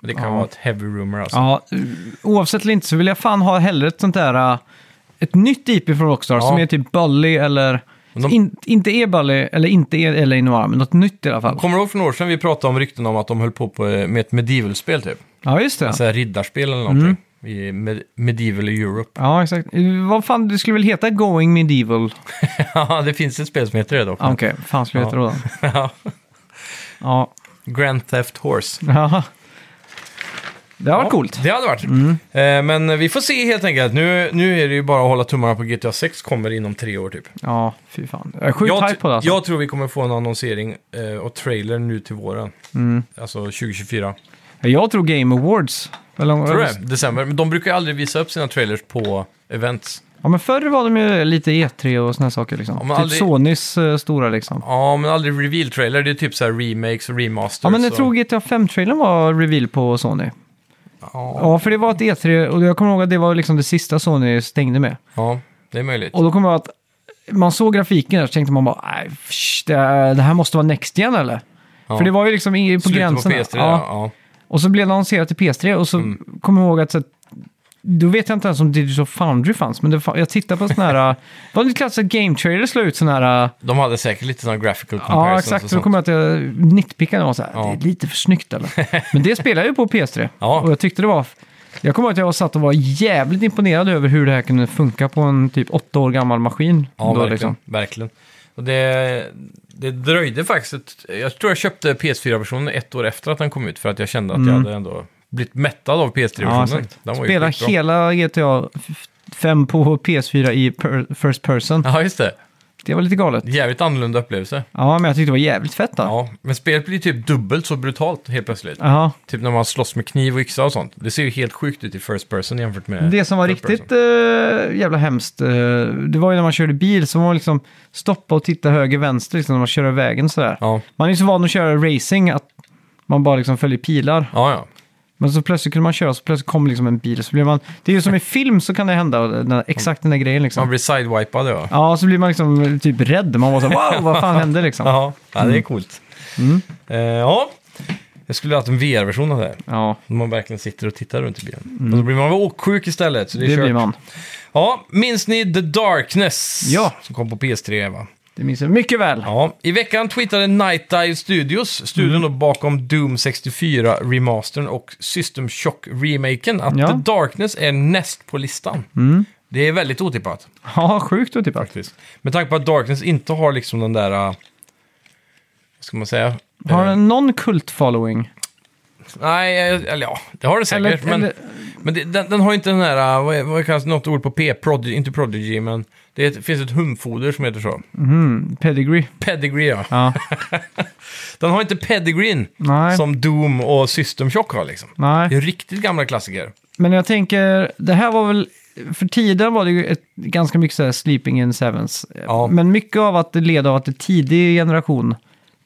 S2: Men det kan vara ett heavy rumor alltså.
S1: Mhm. Ja, eh, oavsett eller inte så vill jag fan ha hellre ett sånt där... eh, Ett nytt IP från Rockstar som är typ Bully eller...
S2: Men de-
S1: In, inte är Bully eller inte är LA Noir, men något nytt i alla fall.
S2: Kommer du ihåg för några år sedan vi pratade om rykten om att de höll på på, eh, med ett medieval-spel typ?
S1: Ja, Mm. just det.
S2: Så här riddarspel eller någonting. I med, medieval Europe.
S1: Ja, exakt. Eh, Vad fan, det skulle väl heta Going Medieval?
S2: Ja, det finns ett spel som heter det dock.
S1: Ah, Okej, fan skulle det heta då?
S2: Ja.
S1: Ja.
S2: Grand Theft Horse.
S1: ja. Det har varit
S2: Ja,
S1: coolt. Mm.
S2: Det hade varit. Eh, men vi får se helt enkelt. Nu, nu är det ju bara att hålla tummarna på GTA 6 kommer inom tre år typ.
S1: Ja, fy fan. Jag är sjukt
S2: Jag,
S1: hype på det alltså.
S2: jag tror vi kommer få en annonsering eh, och trailer nu till våren.
S1: Mm.
S2: Alltså 2024.
S1: Jag, tror Game Awards. Eller,
S2: Tror du det? December. Men de brukar ju aldrig visa upp sina trailers på events.
S1: Ja, men förr var de ju lite E3 och såna här saker liksom.
S2: men
S1: typ
S2: aldrig-
S1: Sonys eh, stora liksom.
S2: Ja, men aldrig reveal-trailer. Det är typ så här remakes och remasters.
S1: Ja, men jag
S2: och-
S1: tror GTA 5-trailern var reveal på Sony.
S2: Ja,
S1: Ja, för det var ett E3 och jag kommer ihåg att det var liksom det sista Sony stängde med.
S2: ja, det är möjligt.
S1: Och då kommer jag ihåg att man såg grafiken där så tänkte man bara, "Nej, psh, det, det här måste vara Next Gen eller?
S2: Ja.
S1: För det var ju liksom i- på
S2: Slutet
S1: gränsen.
S2: på PS3,
S1: ja.
S2: ja. Mm.
S1: Och så blev det annonserat till PS3 och så kommer jag ihåg att så, att- då vet jag inte ens om Digital Foundry fanns, men det, fa- jag tittade på sådana här... Det var lite klassiskt att Game Trader slog ut sådana här...
S2: De hade säkert lite sådana graphical comparisons
S1: Ja,
S2: och
S1: exakt. Så
S2: sånt.
S1: då kommer jag att jag nitpickade och var så här,
S2: Ja.
S1: det är lite för snyggt eller? Men det spelade jag ju på PS3.
S2: Ja.
S1: Och jag tyckte det var... Jag kommer ihåg att jag var satt och var jävligt imponerad över hur det här kunde funka på en typ åtta år gammal maskin.
S2: Ja,
S1: då,
S2: verkligen.
S1: liksom.
S2: verkligen. Och det, det dröjde faktiskt. Ett, jag tror jag köpte PS4-versionen ett år efter att den kom ut för att jag kände att jag hade ändå blivit mättad av
S1: Mm. Ja,
S2: PS3-versionen.
S1: exakt.
S2: den var ju
S1: Spela
S2: skitbra.
S1: hela GTA 5 på PS4 i per, First Person.
S2: Ja, just det.
S1: Det var lite galet.
S2: Jävligt annorlunda upplevelse.
S1: Ja, men jag tyckte det var jävligt fett då.
S2: Ja, men spelet blir typ dubbelt så brutalt helt plötsligt.
S1: Ja.
S2: Typ när man slåss med kniv och yxa och sånt. Det ser ju helt sjukt ut i first person jämfört med...
S1: Det som var
S2: third person.
S1: riktigt eh, jävla hemskt, eh, det var ju när man körde bil så var man liksom stoppa och titta höger, vänster liksom, när man kör över vägen sådär.
S2: Ja.
S1: Man är ju så van att köra racing att man bara liksom följer pilar.
S2: Ja, ja.
S1: Men så plötsligt kunde man köra så plötsligt kom liksom en bil. Så blir man, det är ju som i film så kan det hända, och den, där- exakt den där grejen
S2: Man
S1: liksom.
S2: blir sidewipad ja.
S1: Ja, så blir man liksom typ rädd. Man var så här, wow, vad fan hände liksom?
S2: Ja, ja det är coolt.
S1: Mm.
S2: Eh, ja, jag skulle ha haft en VR-version av det här.
S1: Ja,
S2: När man verkligen sitter och tittar runt i bilen. Och då blir man åksjuk istället. Så det, är
S1: Mm. det
S2: kört.
S1: blir man.
S2: Ja, minns ni The Darkness?
S1: Ja.
S2: Som kom på PS3, va?
S1: Det minns jag mycket väl.
S2: Ja, i veckan twittrade Night Dive Studios, studion
S1: Mm.
S2: då bakom Doom 64-remastern och System Shock-remaken, att
S1: Ja. Mm.
S2: The Darkness är näst på listan. Det är väldigt otippat.
S1: Ja, sjukt typ. otippat.
S2: Faktiskt. Med tanke på att Darkness inte har liksom den där... äh, Vad ska man säga?
S1: Har
S2: Eh,
S1: den någon kult-following?
S2: Nej, eh, eller ja, det har det säkert.
S1: Eller-
S2: men
S1: eller-
S2: men det, den, den har inte den här, äh, vad, är- vad kallas något ord på P? Prodigy, inte Prodigy, men det är ett- finns ett humfoder som heter så.
S1: Mm, Pedigree?
S2: Pedigree, ja.
S1: Ja.
S2: Den har inte pedigreen
S1: Nej.
S2: som Doom och System Shock har liksom.
S1: Nej.
S2: Det är riktigt gamla klassiker.
S1: Men jag tänker, det här var väl, för tiden var det ju ett, ganska mycket så här sleeping in sevens.
S2: Ja.
S1: Men mycket av att det led av att det är tidig generation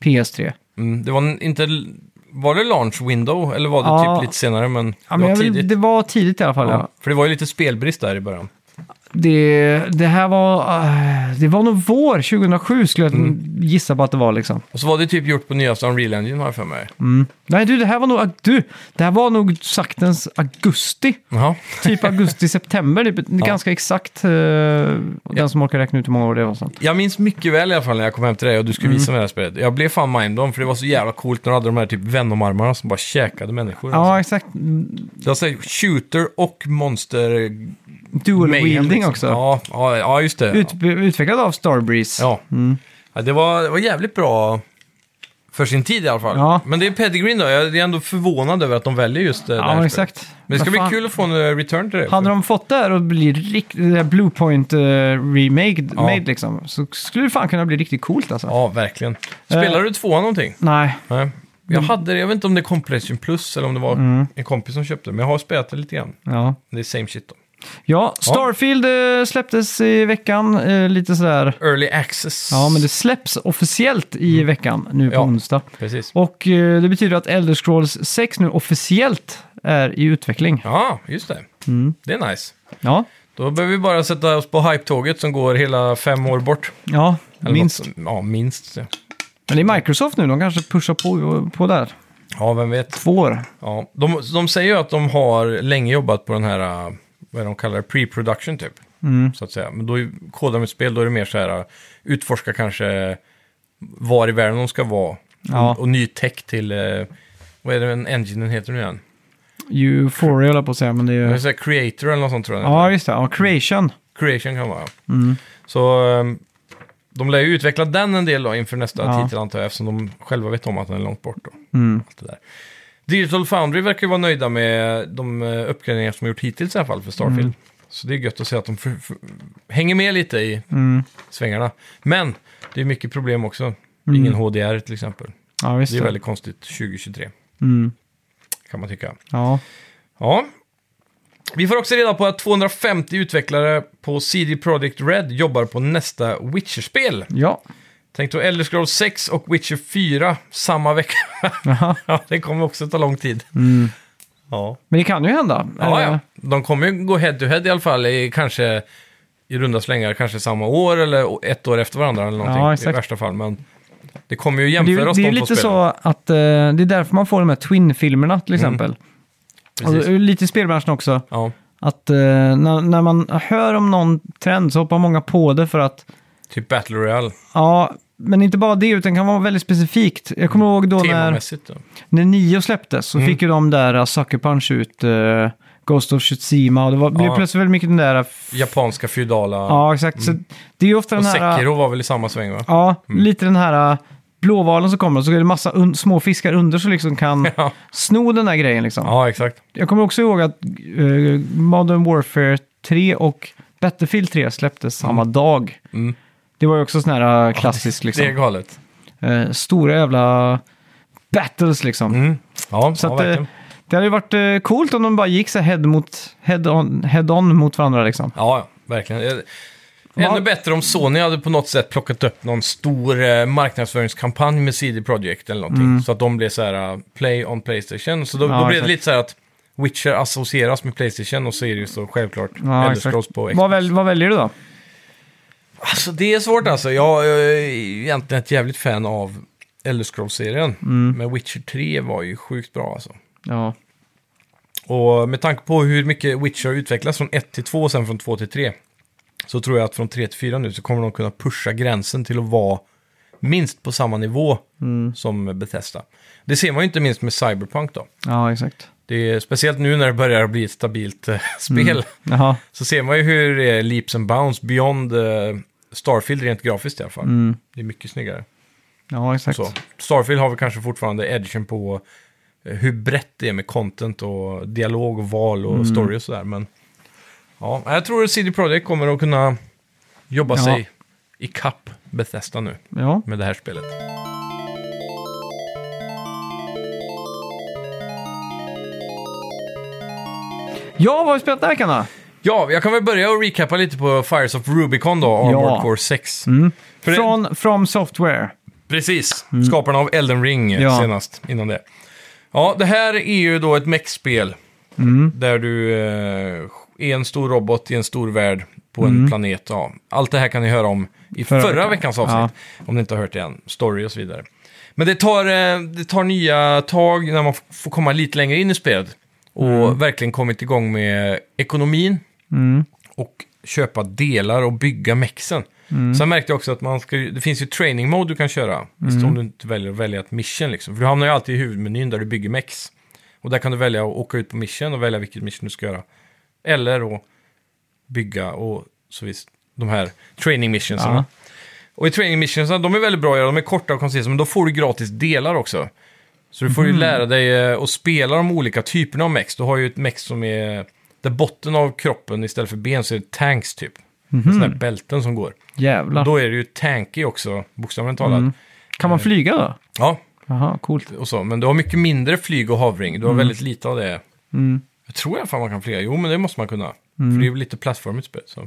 S1: PS3.
S2: Mm, det var en- inte, l- var det launch window eller var det
S1: Ja.
S2: typ lite senare? Men
S1: Ja,
S2: det
S1: men
S2: var
S1: jag
S2: tidigt.
S1: vill, det var tidigt i alla fall. Ja.
S2: Ja, för det var ju lite spelbrist där i början.
S1: Det, det här var, ah, det var nog vår 2007 skulle jag
S2: Mm.
S1: gissa på att det var liksom.
S2: Och så var det typ gjort på nyaste Unreal Engine har jag för mig.
S1: Mm. Nej du, det här var nog, ag- du, det här var nog saktens augusti.
S2: Jaha.
S1: Typ augusti-september, typ, ganska exakt. eh, Den som orkar räkna ut hur många år det var. Sånt.
S2: Jag minns mycket väl i alla fall när jag kom hem till dig och du skulle
S1: Mm.
S2: visa mig det här spelet. Jag blev fan mindblown för det var så jävla coolt när du hade de här typ Venom-armarna som bara käkade människor.
S1: Ja, exakt.
S2: Det var så här shooter och monster...
S1: Dual
S2: mayhem,
S1: wielding
S2: liksom.
S1: också.
S2: Ja, ja, ja just det.
S1: Ut, utvecklad av Starbreeze.
S2: Ja. ja det, var, det var jävligt bra För sin tid i alla fall.
S1: Ja.
S2: Men det är Pettigreen då. Jag är ändå förvånad över att de väljer just eh, det här
S1: Ja,
S2: spelet.
S1: exakt.
S2: Men det ska
S1: Vad
S2: bli
S1: fan.
S2: kul att få en eh, return till det.
S1: Hade de fått det här och bli riktigt, det här Bluepoint uh, remade
S2: Ja.
S1: made liksom, så skulle det fan kunna bli riktigt coolt alltså.
S2: Ja, verkligen. Spelar
S1: Eh.
S2: du tvåan någonting?
S1: Nej, Mm.
S2: Nej. Jag hade det, jag vet inte om det är Completion Plus eller om det var en kompis som köpte men jag har spelat det lite grann.
S1: ja.
S2: Det är same shit då.
S1: Ja, Starfield eh, släpptes i veckan, eh, lite sådär.
S2: Early Access.
S1: Ja, men det släpps officiellt i veckan nu på
S2: Mm. Ja.
S1: onsdag.
S2: Precis.
S1: Och eh, det betyder att Elder Scrolls 6 nu officiellt är i utveckling.
S2: Ja, just det.
S1: Mm.
S2: Det är nice.
S1: Ja,
S2: Då behöver vi bara sätta oss på hype-tåget som går hela fem år bort.
S1: ja
S2: Eller
S1: minst.
S2: något som- Ja, minst. Ja,
S1: Men det är Microsoft nu, de kanske pushar på, på där.
S2: ja vem vet.
S1: Två år.
S2: Ja. De, de säger ju att de har länge jobbat på den här, äh, vad är det de kallar det, pre-production typ. Så att säga. Men då är- kodar de ett spel, då är det mer så här, äh, utforska kanske var i världen de ska vara.
S1: Ja.
S2: Och, och ny tech till, eh, vad är det den enginen heter nu igen?
S1: Euphoria höll jag på att säga, men det är
S2: Det är
S1: ju...
S2: så här creator eller något sånt tror jag. den heter.
S1: Ja, just det. Ja, Creation.
S2: Creation kan vara.
S1: Mm.
S2: Så ehm, de lär ju utveckla den en del då inför nästa
S1: Ja. Mm.
S2: titel antar jag, eftersom de själva vet om att den är långt bort. Då. Allt det där. Digital Foundry verkar ju vara nöjda med de eh, uppgraderingar som har gjort hittills i alla fall för Starfield.
S1: Mm.
S2: Så det är gött att se att de för, för, hänger med lite i
S1: Mm.
S2: svängarna. Men det är mycket problem också.
S1: Mm.
S2: Ingen HDR till exempel.
S1: Ja, visst
S2: Det är väldigt konstigt 2023.
S1: Mm.
S2: Kan man tycka.
S1: Ja.
S2: Ja. Vi får också reda på att 250 utvecklare på CD Projekt Red jobbar på nästa Witcher-spel.
S1: Ja.
S2: Tänk då Elder Scrolls 6 och Witcher 4 samma vecka.
S1: Jaha.
S2: ja, det kommer också ta lång tid.
S1: Mm.
S2: Ja.
S1: Men det kan ju hända.
S2: Ja,
S1: Eh,
S2: ja. De kommer ju gå head-to-head i alla fall i kanske i runda slängar, kanske samma år eller ett år efter varandra eller någonting
S1: Ja,
S2: i
S1: exakt.
S2: värsta fall. Men det kommer ju
S1: Det är,
S2: jämföra
S1: ju-
S2: oss
S1: det är ju
S2: de två
S1: lite
S2: spelen.
S1: så att eh, det är därför man får de här Twin-filmerna till exempel.
S2: Mm. Precis.
S1: Och, eh, lite i spelbranschen också.
S2: Ja,
S1: Att eh, när, när man hör om någon trend så hoppar många på det för att,
S2: typ Battle Royale,
S1: ja, men inte bara det utan kan vara väldigt specifikt. Jag kommer ihåg då när,
S2: temamässigt. Mm. Då.
S1: när Nio släpptes så fick ju de där uh, Sucker Punch ut eh, Ghost of Tsushima och det var, blev
S2: Ja.
S1: plötsligt väldigt mycket den där... f-
S2: Japanska feudala.
S1: Ja, exakt. Så det är ju ofta
S2: Mm. och
S1: den här... äh,
S2: Sekiro var väl i samma sväng va?
S1: Ja, lite den här äh, blåvalen som kommer och så är det massa un- små fiskar under som liksom kan
S2: Ja.
S1: sno den där grejen liksom.
S2: Ja, exakt.
S1: Jag kommer också ihåg att eh, Modern Warfare 3 och Battlefield 3 släpptes samma dag.
S2: Mm.
S1: Det var ju också sån här äh, klassisk liksom.
S2: Det är galet.
S1: Eh, stora jävla battles liksom.
S2: Mm. Ja,
S1: Så
S2: ja,
S1: att, eh,
S2: verkligen.
S1: det hade ju varit eh, coolt om de bara gick så här head, mot, head, on, head on mot varandra liksom.
S2: Ja, ja, verkligen. Eh,
S1: Man-
S2: Ännu bättre om Sony hade på något sätt plockat upp någon stor eh, marknadsföringskampanj med CD Projekt eller någonting. Så att de blev så här, eh, play on Playstation. Så då,
S1: Mm. Ja,
S2: då blev
S1: exakt.
S2: det lite så här att Witcher associeras med Playstation och så är det ju så självklart
S1: Ja,
S2: Elder
S1: exakt.
S2: Scrolls på Xbox.
S1: Vad, väl, vad väljer du då?
S2: Alltså det är svårt alltså. Jag är egentligen ett jävligt fan av Elder Scrolls-serien.
S1: Mm.
S2: Men Witcher 3 var ju sjukt bra alltså.
S1: Ja,
S2: Och med tanke på hur mycket Witcher har utvecklats från 1 till 2 och sen från 2 till 3. Så tror jag att från 3 till 4 nu så kommer de kunna pusha gränsen till att vara minst på samma nivå som Bethesda. Det ser man ju inte minst med Cyberpunk då.
S1: ja exakt.
S2: Det är, speciellt nu när det börjar bli ett stabilt eh, spel.
S1: Jaha.
S2: Så ser man ju hur det är leaps and bounds beyond eh, Starfield rent grafiskt i alla fall. Det är mycket snyggare.
S1: Ja, exakt.
S2: Så. Starfield har väl kanske fortfarande edgen på eh, hur brett det är med content och dialog och val
S1: Mm.
S2: och story och sådär. Men ja, jag tror att CD Projekt kommer att kunna jobba
S1: Ja.
S2: sig i kapp Bethesda nu
S1: Ja.
S2: med det här spelet.
S1: ja, vad har vi spelat den här veckan då?
S2: Ja, jag kan väl börja och recappa lite på Fires of Rubicon då, Armored
S1: Ja. Mm.
S2: Core 6. För det-
S1: Från From Software.
S2: Precis, skaparna av Elden Ring eh,
S1: Ja.
S2: senast innan det. Ja, det här är ju då ett mech-spel. Där du eh, är en stor robot i en stor värld på en planet. Ja. Allt det här kan ni höra om i förra,
S1: Förra veckan.
S2: veckans avsnitt. Om ni inte har hört det än. Story och så vidare. Men det tar, eh, det tar nya tag när man f- får komma lite längre in i spelet. Och verkligen kommit igång med ekonomin och köpa delar och bygga mexen. Sen märkte jag också att man ska, ju- det finns ju training mode du kan köra. Om du inte väljer att välja ett mission liksom. För du hamnar ju alltid i huvudmenyn där du bygger mex. Och där kan du välja att åka ut på mission och välja vilket mission du ska göra. Eller att bygga och så vis, de här training missionsen.
S1: Ja.
S2: Och i training missions, de är väldigt bra att göra. De är korta och koncisa, men då får du gratis delar också. Så du får ju lära dig eh, att spela de olika typerna av mex. Du har ju ett mex som är där botten av kroppen istället för ben så är det tanks typ. Sådana här bälten som går.
S1: Jävlar.
S2: Då är det ju tanky också, bokstavligen talat.
S1: Kan man flyga då?
S2: Ja,
S1: Jaha, coolt.
S2: och så. Men du har mycket mindre flyg och hovering. Du har väldigt lite av det. Jag tror i alla fall man kan flyga. Jo, men det måste man kunna. För det är ju lite plattformigt spel. Så.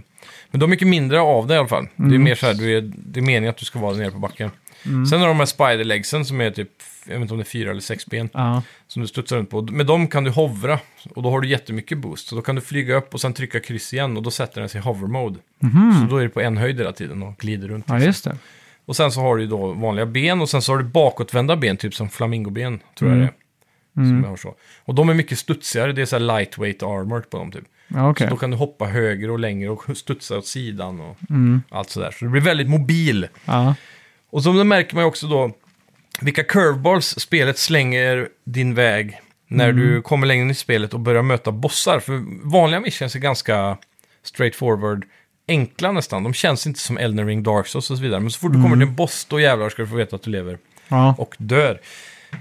S2: Men du har mycket mindre av det i alla fall. Det är mer så här, du är, det är meningen att du ska vara nere på backen. Sen har de här spiderlegsen som är typ, jag vet inte om det är fyra eller sex ben.
S1: Ja.
S2: Som du studsar runt på. Med dem kan du hovra. Och då har du jättemycket boost. Så då kan du flyga upp och sen trycka kryss igen. Och då sätter den sig i hover mode. Så då är du på en höjd hela tiden och glider runt.
S1: ja, just det.
S2: Och sen så har du ju då vanliga ben och sen så har du bakåtvända ben, typ som flamingoben, tror jag det är. Som jag har så. Och de är mycket studsigare, det är så här lightweight armor på dem typ.
S1: Ja, okej.
S2: Så då kan du hoppa högre och längre och studsa åt sidan och allt sådär. Så du blir väldigt mobil.
S1: Ja.
S2: Och så märker man ju också då vilka curveballs spelet slänger din väg när du kommer längre in i spelet och börjar möta bossar. För vanliga missions är ganska straightforward, enkla nästan. De känns inte som Elden Ring, Dark Souls och så vidare. Men så fort du kommer till en boss, då jävlar ska du få veta att du lever
S1: Ja.
S2: och dör.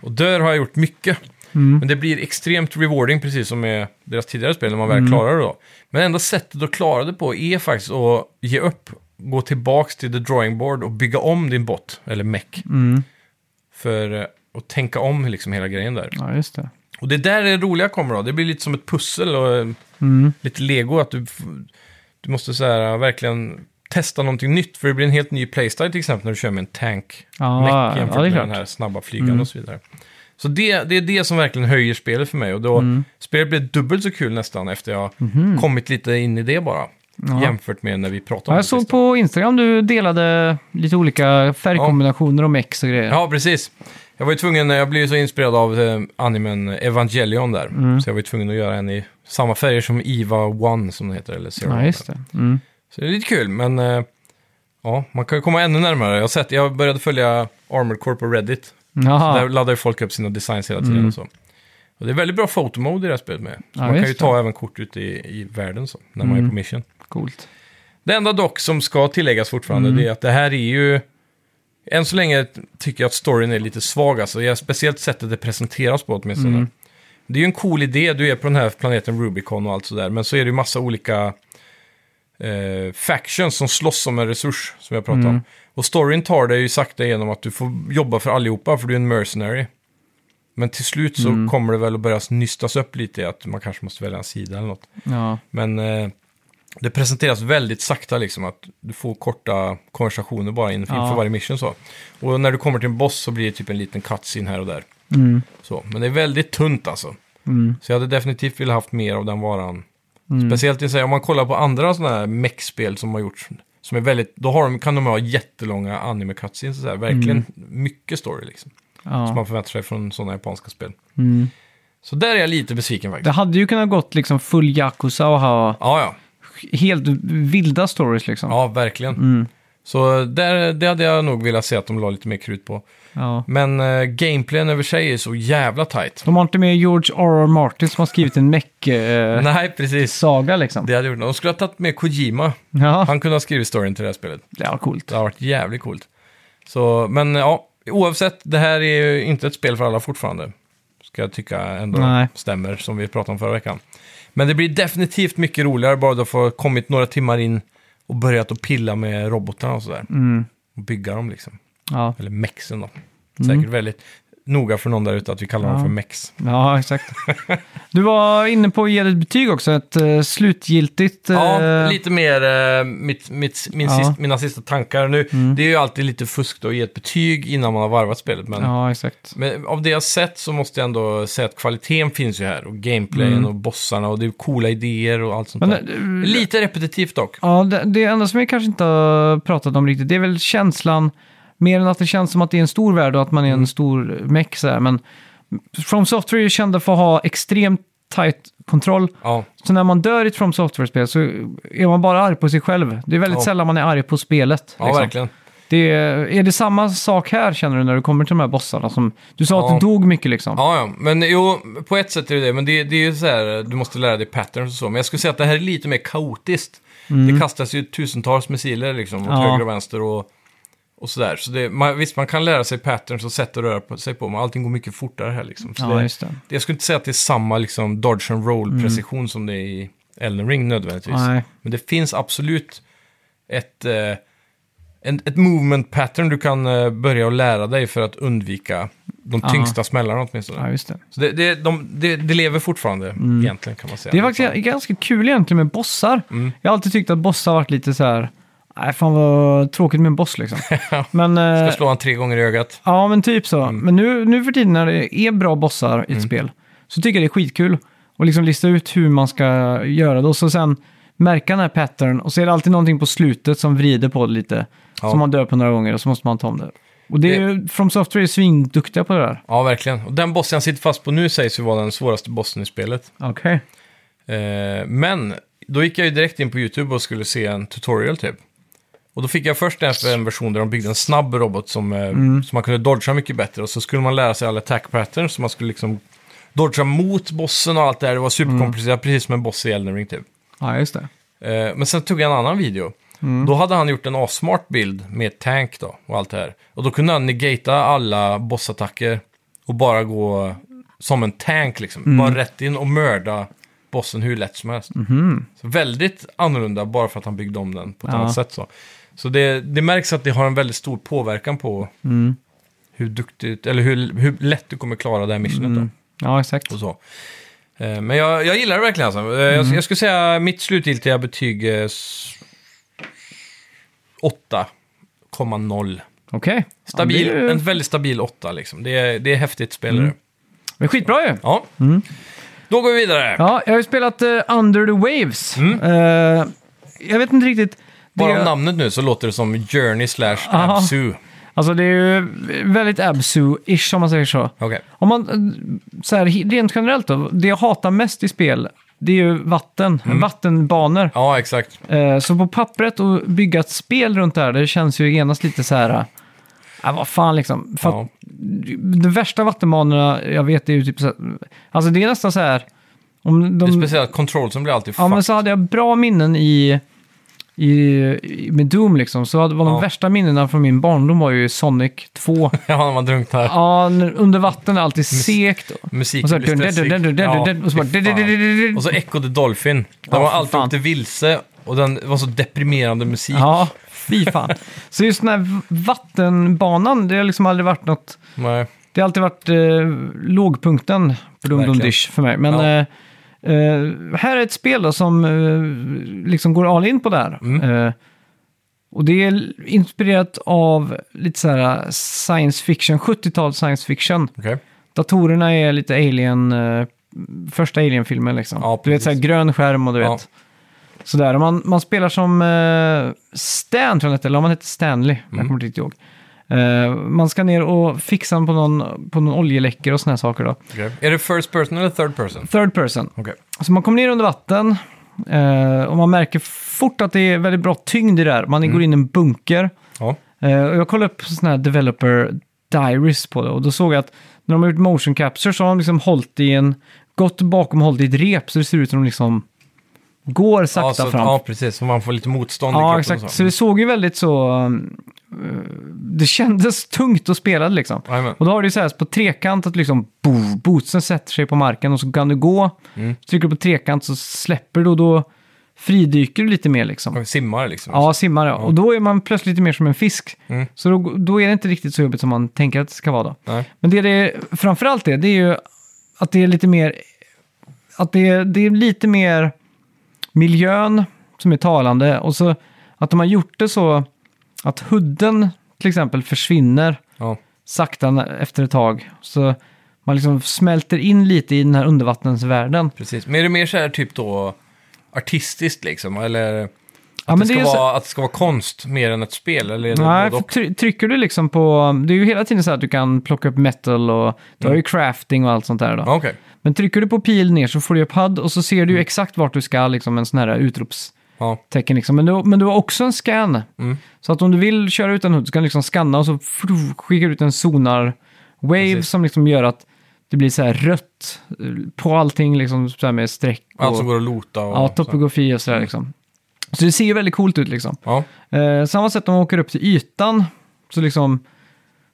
S2: Och dör har jag gjort mycket. Men det blir extremt rewarding, precis som med deras tidigare spel, när man väl klarar det då. Men enda sättet att klara det på är faktiskt att ge upp, gå tillbaks till the drawing board och bygga om din bot, eller mech. För eh, att tänka om liksom hela grejen där.
S1: ja, just det.
S2: Och det är där det roliga kommer då. Det blir lite som ett pussel och eh,
S1: Mm.
S2: lite lego. Att du, f- du måste så här, eh, verkligen testa någonting nytt. För det blir en helt ny playstyle till exempel när du kör med en tank.
S1: Ja,
S2: mech
S1: ja,
S2: jämfört
S1: det är
S2: med
S1: klart. Mm.
S2: den här snabba flygande och så vidare. Så det, det är det som verkligen höjer spelet för mig. Och då,
S1: Mm.
S2: Spelet blev dubbelt så kul nästan efter jag kommit lite in i det bara. Jämfört med när vi pratade
S1: Mhm. Ja,
S2: om
S1: jag
S2: det
S1: såg
S2: sist.
S1: på Instagram du delade lite olika färgkombinationer och mex och grejer.
S2: Ja, precis. Jag var ju tvungen, jag blev ju så inspirerad av eh, animen Evangelion där.
S1: Mm.
S2: Så jag var ju tvungen att göra en i samma färger som Eva One som det heter, eller Zero.
S1: Ja, just det. Mm.
S2: Så det är lite kul, men eh, ja, man kan ju komma ännu närmare. Jag, har sett, jag började följa Armored Core på Reddit. Där
S1: Jaha.
S2: laddar ju folk upp sina designs hela tiden och så. Och det är väldigt bra fotomode i det här spelet med. Så
S1: Mm. Ja,
S2: man kan ju
S1: just Mm.
S2: ta även kort ut i, i världen så, när man är på mission.
S1: Coolt.
S2: Det enda dock som ska tilläggas fortfarande det är att det här är ju... Än så länge tycker jag att storyn är lite svag. Alltså. Jag, speciellt sättet det presenteras på åtminstone. Det är ju en cool idé, du är på den här planeten Rubicon och allt sådär. Men så är det ju massa olika eh, factions som slåss om en resurs, som jag pratade om. Och storyn tar dig ju sakta igenom att du får jobba för allihopa, för du är en mercenary. Men till slut så kommer det väl att börja nystas upp lite, i att man kanske måste välja en sida eller något.
S1: Ja.
S2: Men eh, det presenteras väldigt sakta liksom att du får korta konversationer bara inför,
S1: Ja.
S2: inför varje mission så. Och när du kommer till en boss så blir det typ en liten cutscene här och där.
S1: Mm.
S2: Så, men det är väldigt tunt alltså. Så jag hade definitivt velat haft mer av den varan.
S1: Mm.
S2: Speciellt jag säger, om man kollar på andra sådana här mech-spel som har gjorts. Som är väldigt, då har de, kan de ha jättelånga anime cutscenes och så här. Verkligen mycket story liksom. Som
S1: Mm. Ja. Mm.
S2: man förväntar sig från sådana japanska spel. Så där är jag lite besviken faktiskt.
S1: Det hade ju kunnat gått liksom full Yakuza och ha
S2: Ja, ja.
S1: helt vilda stories liksom.
S2: Ja, verkligen. Så där, det hade jag nog velat se att de la lite mer krut på.
S1: Ja.
S2: Men eh, gameplayen över sig är så jävla tight.
S1: De har inte med George R.R. Martin som har skrivit en mech-saga
S2: Nej, precis.
S1: liksom.
S2: Det hade gjort något. De skulle ha tagit med Kojima.
S1: Ja,
S2: Han kunde ha skrivit storyn till det här spelet.
S1: det var coolt.
S2: Det har varit jävligt coolt. Så, men eh, ja, oavsett, det här är ju inte ett spel för alla fortfarande. Ska jag tycka ändå
S1: Nej.
S2: stämmer, som vi pratade om förra veckan. Men det blir definitivt mycket roligare bara du har kommit några timmar in och börjat att pilla med robotarna och sådär. Och bygga dem liksom.
S1: Ja,
S2: Eller mexen då. Säkert väldigt noga för någon där ute att vi kallar dem för mex.
S1: Mm. ja exakt. Du var inne på att ge det ett betyg också, ett eh, slutgiltigt...
S2: Ja,
S1: eh,
S2: lite mer eh, mitt, mitt, min
S1: Ja. Mm.
S2: sist, mina sista tankar nu. Det är ju alltid lite fusk då att ge ett betyg innan man har varvat spelet. Men,
S1: Ja, exakt.
S2: men av det jag sett så måste jag ändå säga att kvaliteten finns ju här. Och gameplayen och bossarna och det är coola idéer och allt sånt
S1: Mm. Men, eh,
S2: där. Lite repetitivt dock.
S1: Ja, det, det enda som vi kanske inte har pratat om riktigt, det är väl känslan, mer än att det känns som att det är en stor värld och att man är
S2: Mm.
S1: en stor mech så här, men From Software är ju kända för att ha extremt tight kontroll.
S2: Ja,
S1: Så när man dör i ett From Software-spel så är man bara arg på sig själv. Det är väldigt
S2: Ja.
S1: sällan man är arg på spelet.
S2: ja
S1: liksom.
S2: verkligen.
S1: Det är, är det samma sak här känner du när du kommer till de här bossarna som... Du sa
S2: Ja.
S1: att du dog mycket liksom.
S2: Ja, ja, men jo, på ett sätt är det det. Men det, det är ju så här, du måste lära dig patterns och så. Men jag skulle säga att det här är lite mer kaotiskt. Det kastas ju tusentals missiler liksom åt
S1: Mm. Ja.
S2: höger och vänster och Och sådär. Så det, man, visst, man kan lära sig patterns och sätt att röra på- sig på, men allting går mycket fortare här liksom. Så
S1: Ja,
S2: det,
S1: just det.
S2: Jag skulle inte säga att det är samma liksom, dodge and roll-precision som det är i Elden Ring nödvändigtvis.
S1: Nej.
S2: Men det finns absolut ett, eh, en, ett movement pattern du kan eh, börja att lära dig för att undvika de
S1: Ja.
S2: tyngsta smällarna åtminstone.
S1: Ja, just det.
S2: Så det, det, de, det, det lever fortfarande egentligen kan man säga.
S1: Mm.
S2: Liksom.
S1: Det är faktiskt ganska kul egentligen med bossar.
S2: Mm.
S1: Jag har alltid tyckt att bossar har varit lite så här, nej fan vad tråkigt med en boss liksom. Men, eh,
S2: Ska slå han tre gånger i ögat.
S1: Ja, men typ så. Men nu, nu för tiden när det är bra bossar i ett spel så tycker jag det är skitkul att liksom lista ut hur man ska göra det och så sen märka den här pattern och så är det alltid någonting på slutet som vrider på det lite.
S2: Ja.
S1: Som man dör på några gånger och så måste man ta om det. Och det är ju, From Software är svinduktiga på det där.
S2: Ja, verkligen. Och den bossen jag sitter fast på nu sägs ju vara den svåraste bossen i spelet.
S1: Okej.
S2: Eh, men då gick jag ju direkt in på YouTube och skulle se en tutorial typ. Och då fick jag först en- en version där de byggde en snabb robot som, eh,
S1: Mm.
S2: som man kunde dodga mycket bättre. Och så skulle man lära sig alla attack patterns så man skulle liksom dodga mot bossen och allt det här. Det var superkomplicerat, precis som en boss i Elden Ring typ.
S1: Ja, just det.
S2: Eh, Men sen tog jag en annan video. Då hade han gjort en asmart bild med tank då och allt det här. Och då kunde han negata alla bossattacker och bara gå som en tank liksom. Bara rätt in och mörda bossen hur lätt som helst. Så väldigt annorlunda bara för att han byggde om den på ett
S1: Ja.
S2: annat sätt. Så, så det, det märks att det har en väldigt stor påverkan på hur duktigt, eller hur, hur lätt du kommer klara det här missionet då
S1: Ja, exakt.
S2: och så. Eh, Men jag, jag gillar det verkligen alltså. Eh, Jag,
S1: Mm.
S2: jag skulle säga mitt slutgiltiga betyg är s- 8,0.
S1: Okej. Okay. Ja,
S2: Stabil,
S1: det Mm. är
S2: En
S1: ju-
S2: väldigt stabil 8 liksom. Det är, det är häftigt spel det.
S1: men skitbra ju.
S2: Ja. Då går vi vidare.
S1: Mm. Ja, jag har ju spelat eh, Under the Waves. Eh, jag vet inte riktigt. Det-
S2: Bara om namnet nu så låter det som Journey slash
S1: Aha.
S2: Absu.
S1: Alltså det är ju väldigt absu-ish om man säger så.
S2: Okej.
S1: Om man, eh, så här, he- rent generellt då, det jag hatar mest i spel, det är ju vatten, vattenbanor.
S2: Mm. Ja, exakt.
S1: Eh, Så på pappret och bygga ett spel runt det här, det känns ju genast lite så här, äh, vad fan liksom. För
S2: Ja.
S1: att de värsta vattenbanorna jag vet är ju typ så här, alltså det är nästan så här, om
S2: Det är
S1: de,
S2: speciellt kontroll som blir alltid
S1: ja men
S2: fucked.
S1: så hade jag bra minnen i, i, i med Doom liksom, så hade- var de
S2: Ja.
S1: värsta minnena från min barndom var ju Sonic 2.
S2: Ja, när man drunknar.
S1: Ja, n- under vatten är alltid sekt. Och
S2: Musiken
S1: så här,
S2: blir
S1: dun, dun,
S2: stressig.
S1: dun, dun, dun,
S2: Ja,
S1: dun, och så bara,
S2: fy
S1: dun, dun, dun, dun, dun,
S2: fan.
S1: dun.
S2: Och så Echo the Dolphin. De
S1: Ja,
S2: var
S1: fy
S2: alltid
S1: fan.
S2: åkte vilse och den var så deprimerande musik.
S1: Ja, fy fan. Så just den här v- vattenbanan, det har liksom aldrig varit något...
S2: Nej.
S1: Det har alltid varit eh, lågpunkten på Dum Dum
S2: Verkligen.
S1: Dish för mig. Men
S2: Ja.
S1: eh, eh, här är ett spel då som eh, liksom går all in på det här.
S2: Mm.
S1: Eh, och det är inspirerat av lite så här science fiction, 70-tal science fiction.
S2: Okej.
S1: Datorerna är lite alien, eh, första alien-filmen liksom.
S2: Ja,
S1: du vet
S2: precis.
S1: såhär grön skärm och du
S2: Ja.
S1: vet. Sådär, och man, man spelar som eh, Stan tror jag han hette, eller om han hette Stanley,
S2: Mm.
S1: jag kommer inte riktigt ihåg. Eh, man ska ner och fixa på någon, på någon oljeläckor och sådana här saker då.
S2: okej. Är det first person eller third person?
S1: Third person.
S2: Okej.
S1: Så man kommer ner under vatten eh, och man märker fort att det är väldigt bra tyngd i det här. Man
S2: Mm.
S1: går in i en bunker.
S2: Ja.
S1: Eh, och jag kollade upp sådana här developer diaries på det och då såg jag att när de har gjort motion capture så har de liksom hållit i en, gått bakom och hållit i ett rep så det ser ut som de liksom går sakta
S2: ja, så,
S1: fram.
S2: ja, precis. Så man får lite motstånd i
S1: ja,
S2: kroppen
S1: exakt.
S2: och
S1: Så
S2: så.
S1: det såg ju väldigt så... um, eh, det kändes tungt att spela det liksom.
S2: Jajamän.
S1: Och då har du ju så här på trekant att liksom boom, bootsen sätter sig på marken och så kan du gå.
S2: Mm.
S1: Trycker du på trekant så släpper du och då fridyker du lite mer liksom.
S2: Man simmar liksom.
S1: Ja, simmar ja. Och då är man plötsligt lite mer som en fisk. Så då, då är det inte riktigt så jobbigt som man tänker att det ska vara då.
S2: Mm. Nej.
S1: Men det det framförallt är, det är ju att det är lite mer... Att det är, det är lite mer miljön som är talande. Och så att de har gjort det så att hudden till exempel försvinner
S2: Ja.
S1: sakta na- efter ett tag. Så man liksom smälter in lite i den här undervattensvärlden.
S2: Precis. Men är det mer så här typ då artistiskt liksom? Eller att,
S1: Ja,
S2: det,
S1: men
S2: ska
S1: det är så-
S2: vara, att det ska vara konst mer än ett spel? Eller är det
S1: Nej,
S2: både
S1: för
S2: och?
S1: try- trycker du liksom på... Det är ju hela tiden så här att du kan plocka upp metal och... Du har ju crafting och allt sånt där då.
S2: Mm. Ja, Mm. Okej.
S1: Men trycker du på pil ner så får du upp HUD och så ser du ju exakt vart du ska, liksom en sån här utropstecken
S2: Ja.
S1: liksom. Men du, men du har också en scan.
S2: Mm.
S1: Så att om du vill köra ut en HUD så kan du liksom scanna och så fru- skickar du ut en sonar wave
S2: Precis.
S1: som liksom gör att det blir så här rött eh, på allting liksom så här med streck och...
S2: Allt som går att lota och...
S1: ja,
S2: Alltså, så.
S1: topografi och sådär liksom. Så det ser ju väldigt coolt ut liksom.
S2: Ja,
S1: Eh, samma sätt om man åker upp till ytan Så liksom,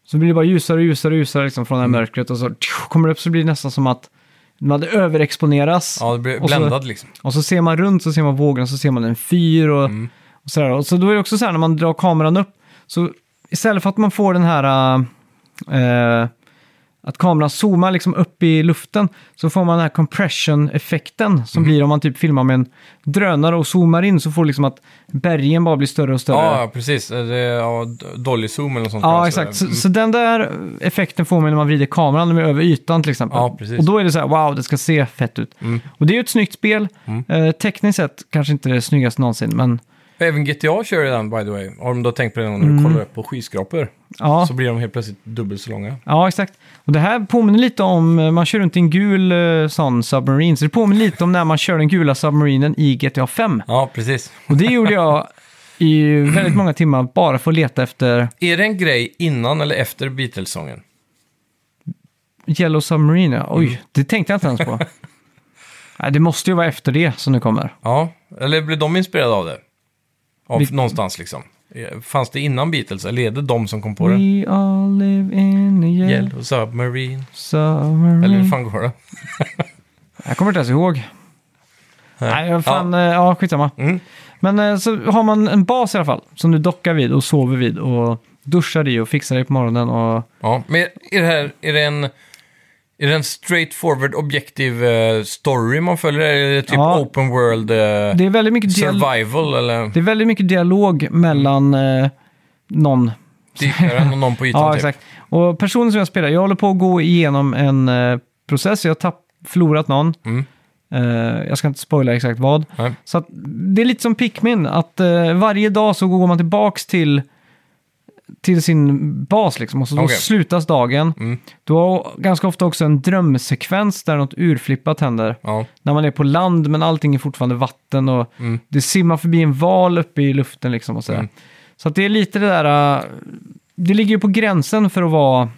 S1: så blir det bara ljusare och ljusare och ljusare liksom från det här
S2: Mm.
S1: mörkret och så tju, kommer det upp så blir det nästan som att man överexponeras.
S2: Ja, det blir
S1: Och så-
S2: bländad liksom.
S1: Och så ser man runt, så ser man vågorna, så ser man en fyr och,
S2: Mm.
S1: och sådär. Och så då är det också så här när man drar kameran upp, så istället för att man får den här... äh, eh, att kameran zoomar liksom upp i luften, så får man den här compression-effekten
S2: Mm.
S1: som blir om man typ filmar med en drönare och zoomar in, så får liksom att bergen bara blir större och större.
S2: Ja, ja, precis. Eh, Det, ja, d- dolly zoom eller något sånt.
S1: Ja,
S2: kallas det.
S1: exakt. Så,
S2: Mm.
S1: så den där effekten får man när man vrider kameran när man är över ytan till exempel.
S2: Ja, precis. Mm.
S1: och då är det så här, wow, det ska se fett ut. Och det är ju ett snyggt spel. Eh, tekniskt sett kanske inte det snyggaste någonsin, men
S2: Även GTA kör ju den, by the way. Har de då tänkt på det när du kollar upp på skyskrapor?
S1: Mm. ja,
S2: Så blir de helt plötsligt dubbelt så långa.
S1: ja, exakt. Och det här påminner lite om, eh, man kör runt i en gul eh, sån submarine, så det påminner lite om när man kör den gula submarinen i GTA 5.
S2: Ja, precis.
S1: Och det gjorde jag i väldigt många timmar bara för att leta efter
S2: Är det en grej innan eller efter Beatles-sången?
S1: Yellow Submarine. ja.
S2: Mm.
S1: Oj, det tänkte jag inte ens på. Nej, det måste ju vara efter det som nu kommer.
S2: Ja, eller blev de inspirerade av det? Av
S1: Vi-
S2: någonstans liksom. Eh, Fanns det innan Beatles eller är det de som kom på det?
S1: We all live in a yellow
S2: Yellow Submarine.
S1: summer.
S2: Eller hur fan går det?
S1: Jag kommer inte ens ihåg. Nej, jag fan, ja, ja skitsamma.
S2: Mm.
S1: Men eh, så har man en bas i alla fall som du dockar vid och sover vid och duschar i och fixar dig på morgonen. Och...
S2: Ja, men är det här, är det en... Är det en straightforward objektiv eh, story man följer? Eller är det typ
S1: Ja.
S2: open world eh,
S1: Det, är väldigt mycket dial-
S2: survival eller
S1: det är väldigt mycket dialog mellan eh, någon.
S2: dykaren och någon på ytan
S1: Ja,
S2: typ?
S1: exakt. Och personen som jag spelar, jag håller på att gå igenom en eh, process. Jag har tapp- förlorat någon.
S2: Mm.
S1: Eh, jag ska inte spoila exakt vad.
S2: Nej.
S1: Så att, det är lite som Pikmin, att eh, varje dag så går man tillbaks till, till sin bas liksom, och så då
S2: Okej.
S1: slutas dagen.
S2: Mm.
S1: Du har ganska ofta också en drömsekvens där något urflippat händer.
S2: Ja.
S1: När man är på land men allting är fortfarande vatten och
S2: Mm.
S1: det simmar förbi en val uppe i luften liksom och sådär.
S2: Mm.
S1: Så att det är lite det där, eh, det ligger ju på gränsen för att vara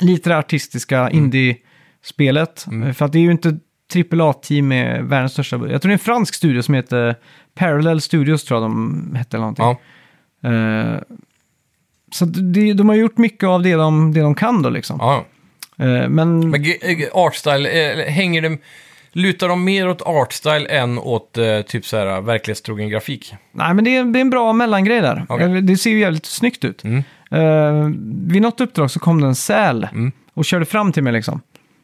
S1: lite det artistiska
S2: Mm.
S1: indie-spelet. Eh, För att det är ju inte AAA-team med världens största budget. Jag tror det är en fransk studio som heter Parallel Studios tror jag de hette eller någonting.
S2: Ja.
S1: Eh, så att det, de har gjort mycket av det de, det de kan då liksom.
S2: Ja.
S1: Eh, men
S2: Men g- g- artstyle, eh, eller hänger det... Lutar de mer åt artstyle än åt eh, typ så här verklighetstrogen grafik?
S1: Nej, men det är, det är en bra mellangrej där.
S2: Okej.
S1: Eller, Det ser ju jävligt snyggt ut.
S2: Mm.
S1: Eh, vid något uppdrag så kom det en säl
S2: Mm.
S1: och körde fram till mig liksom.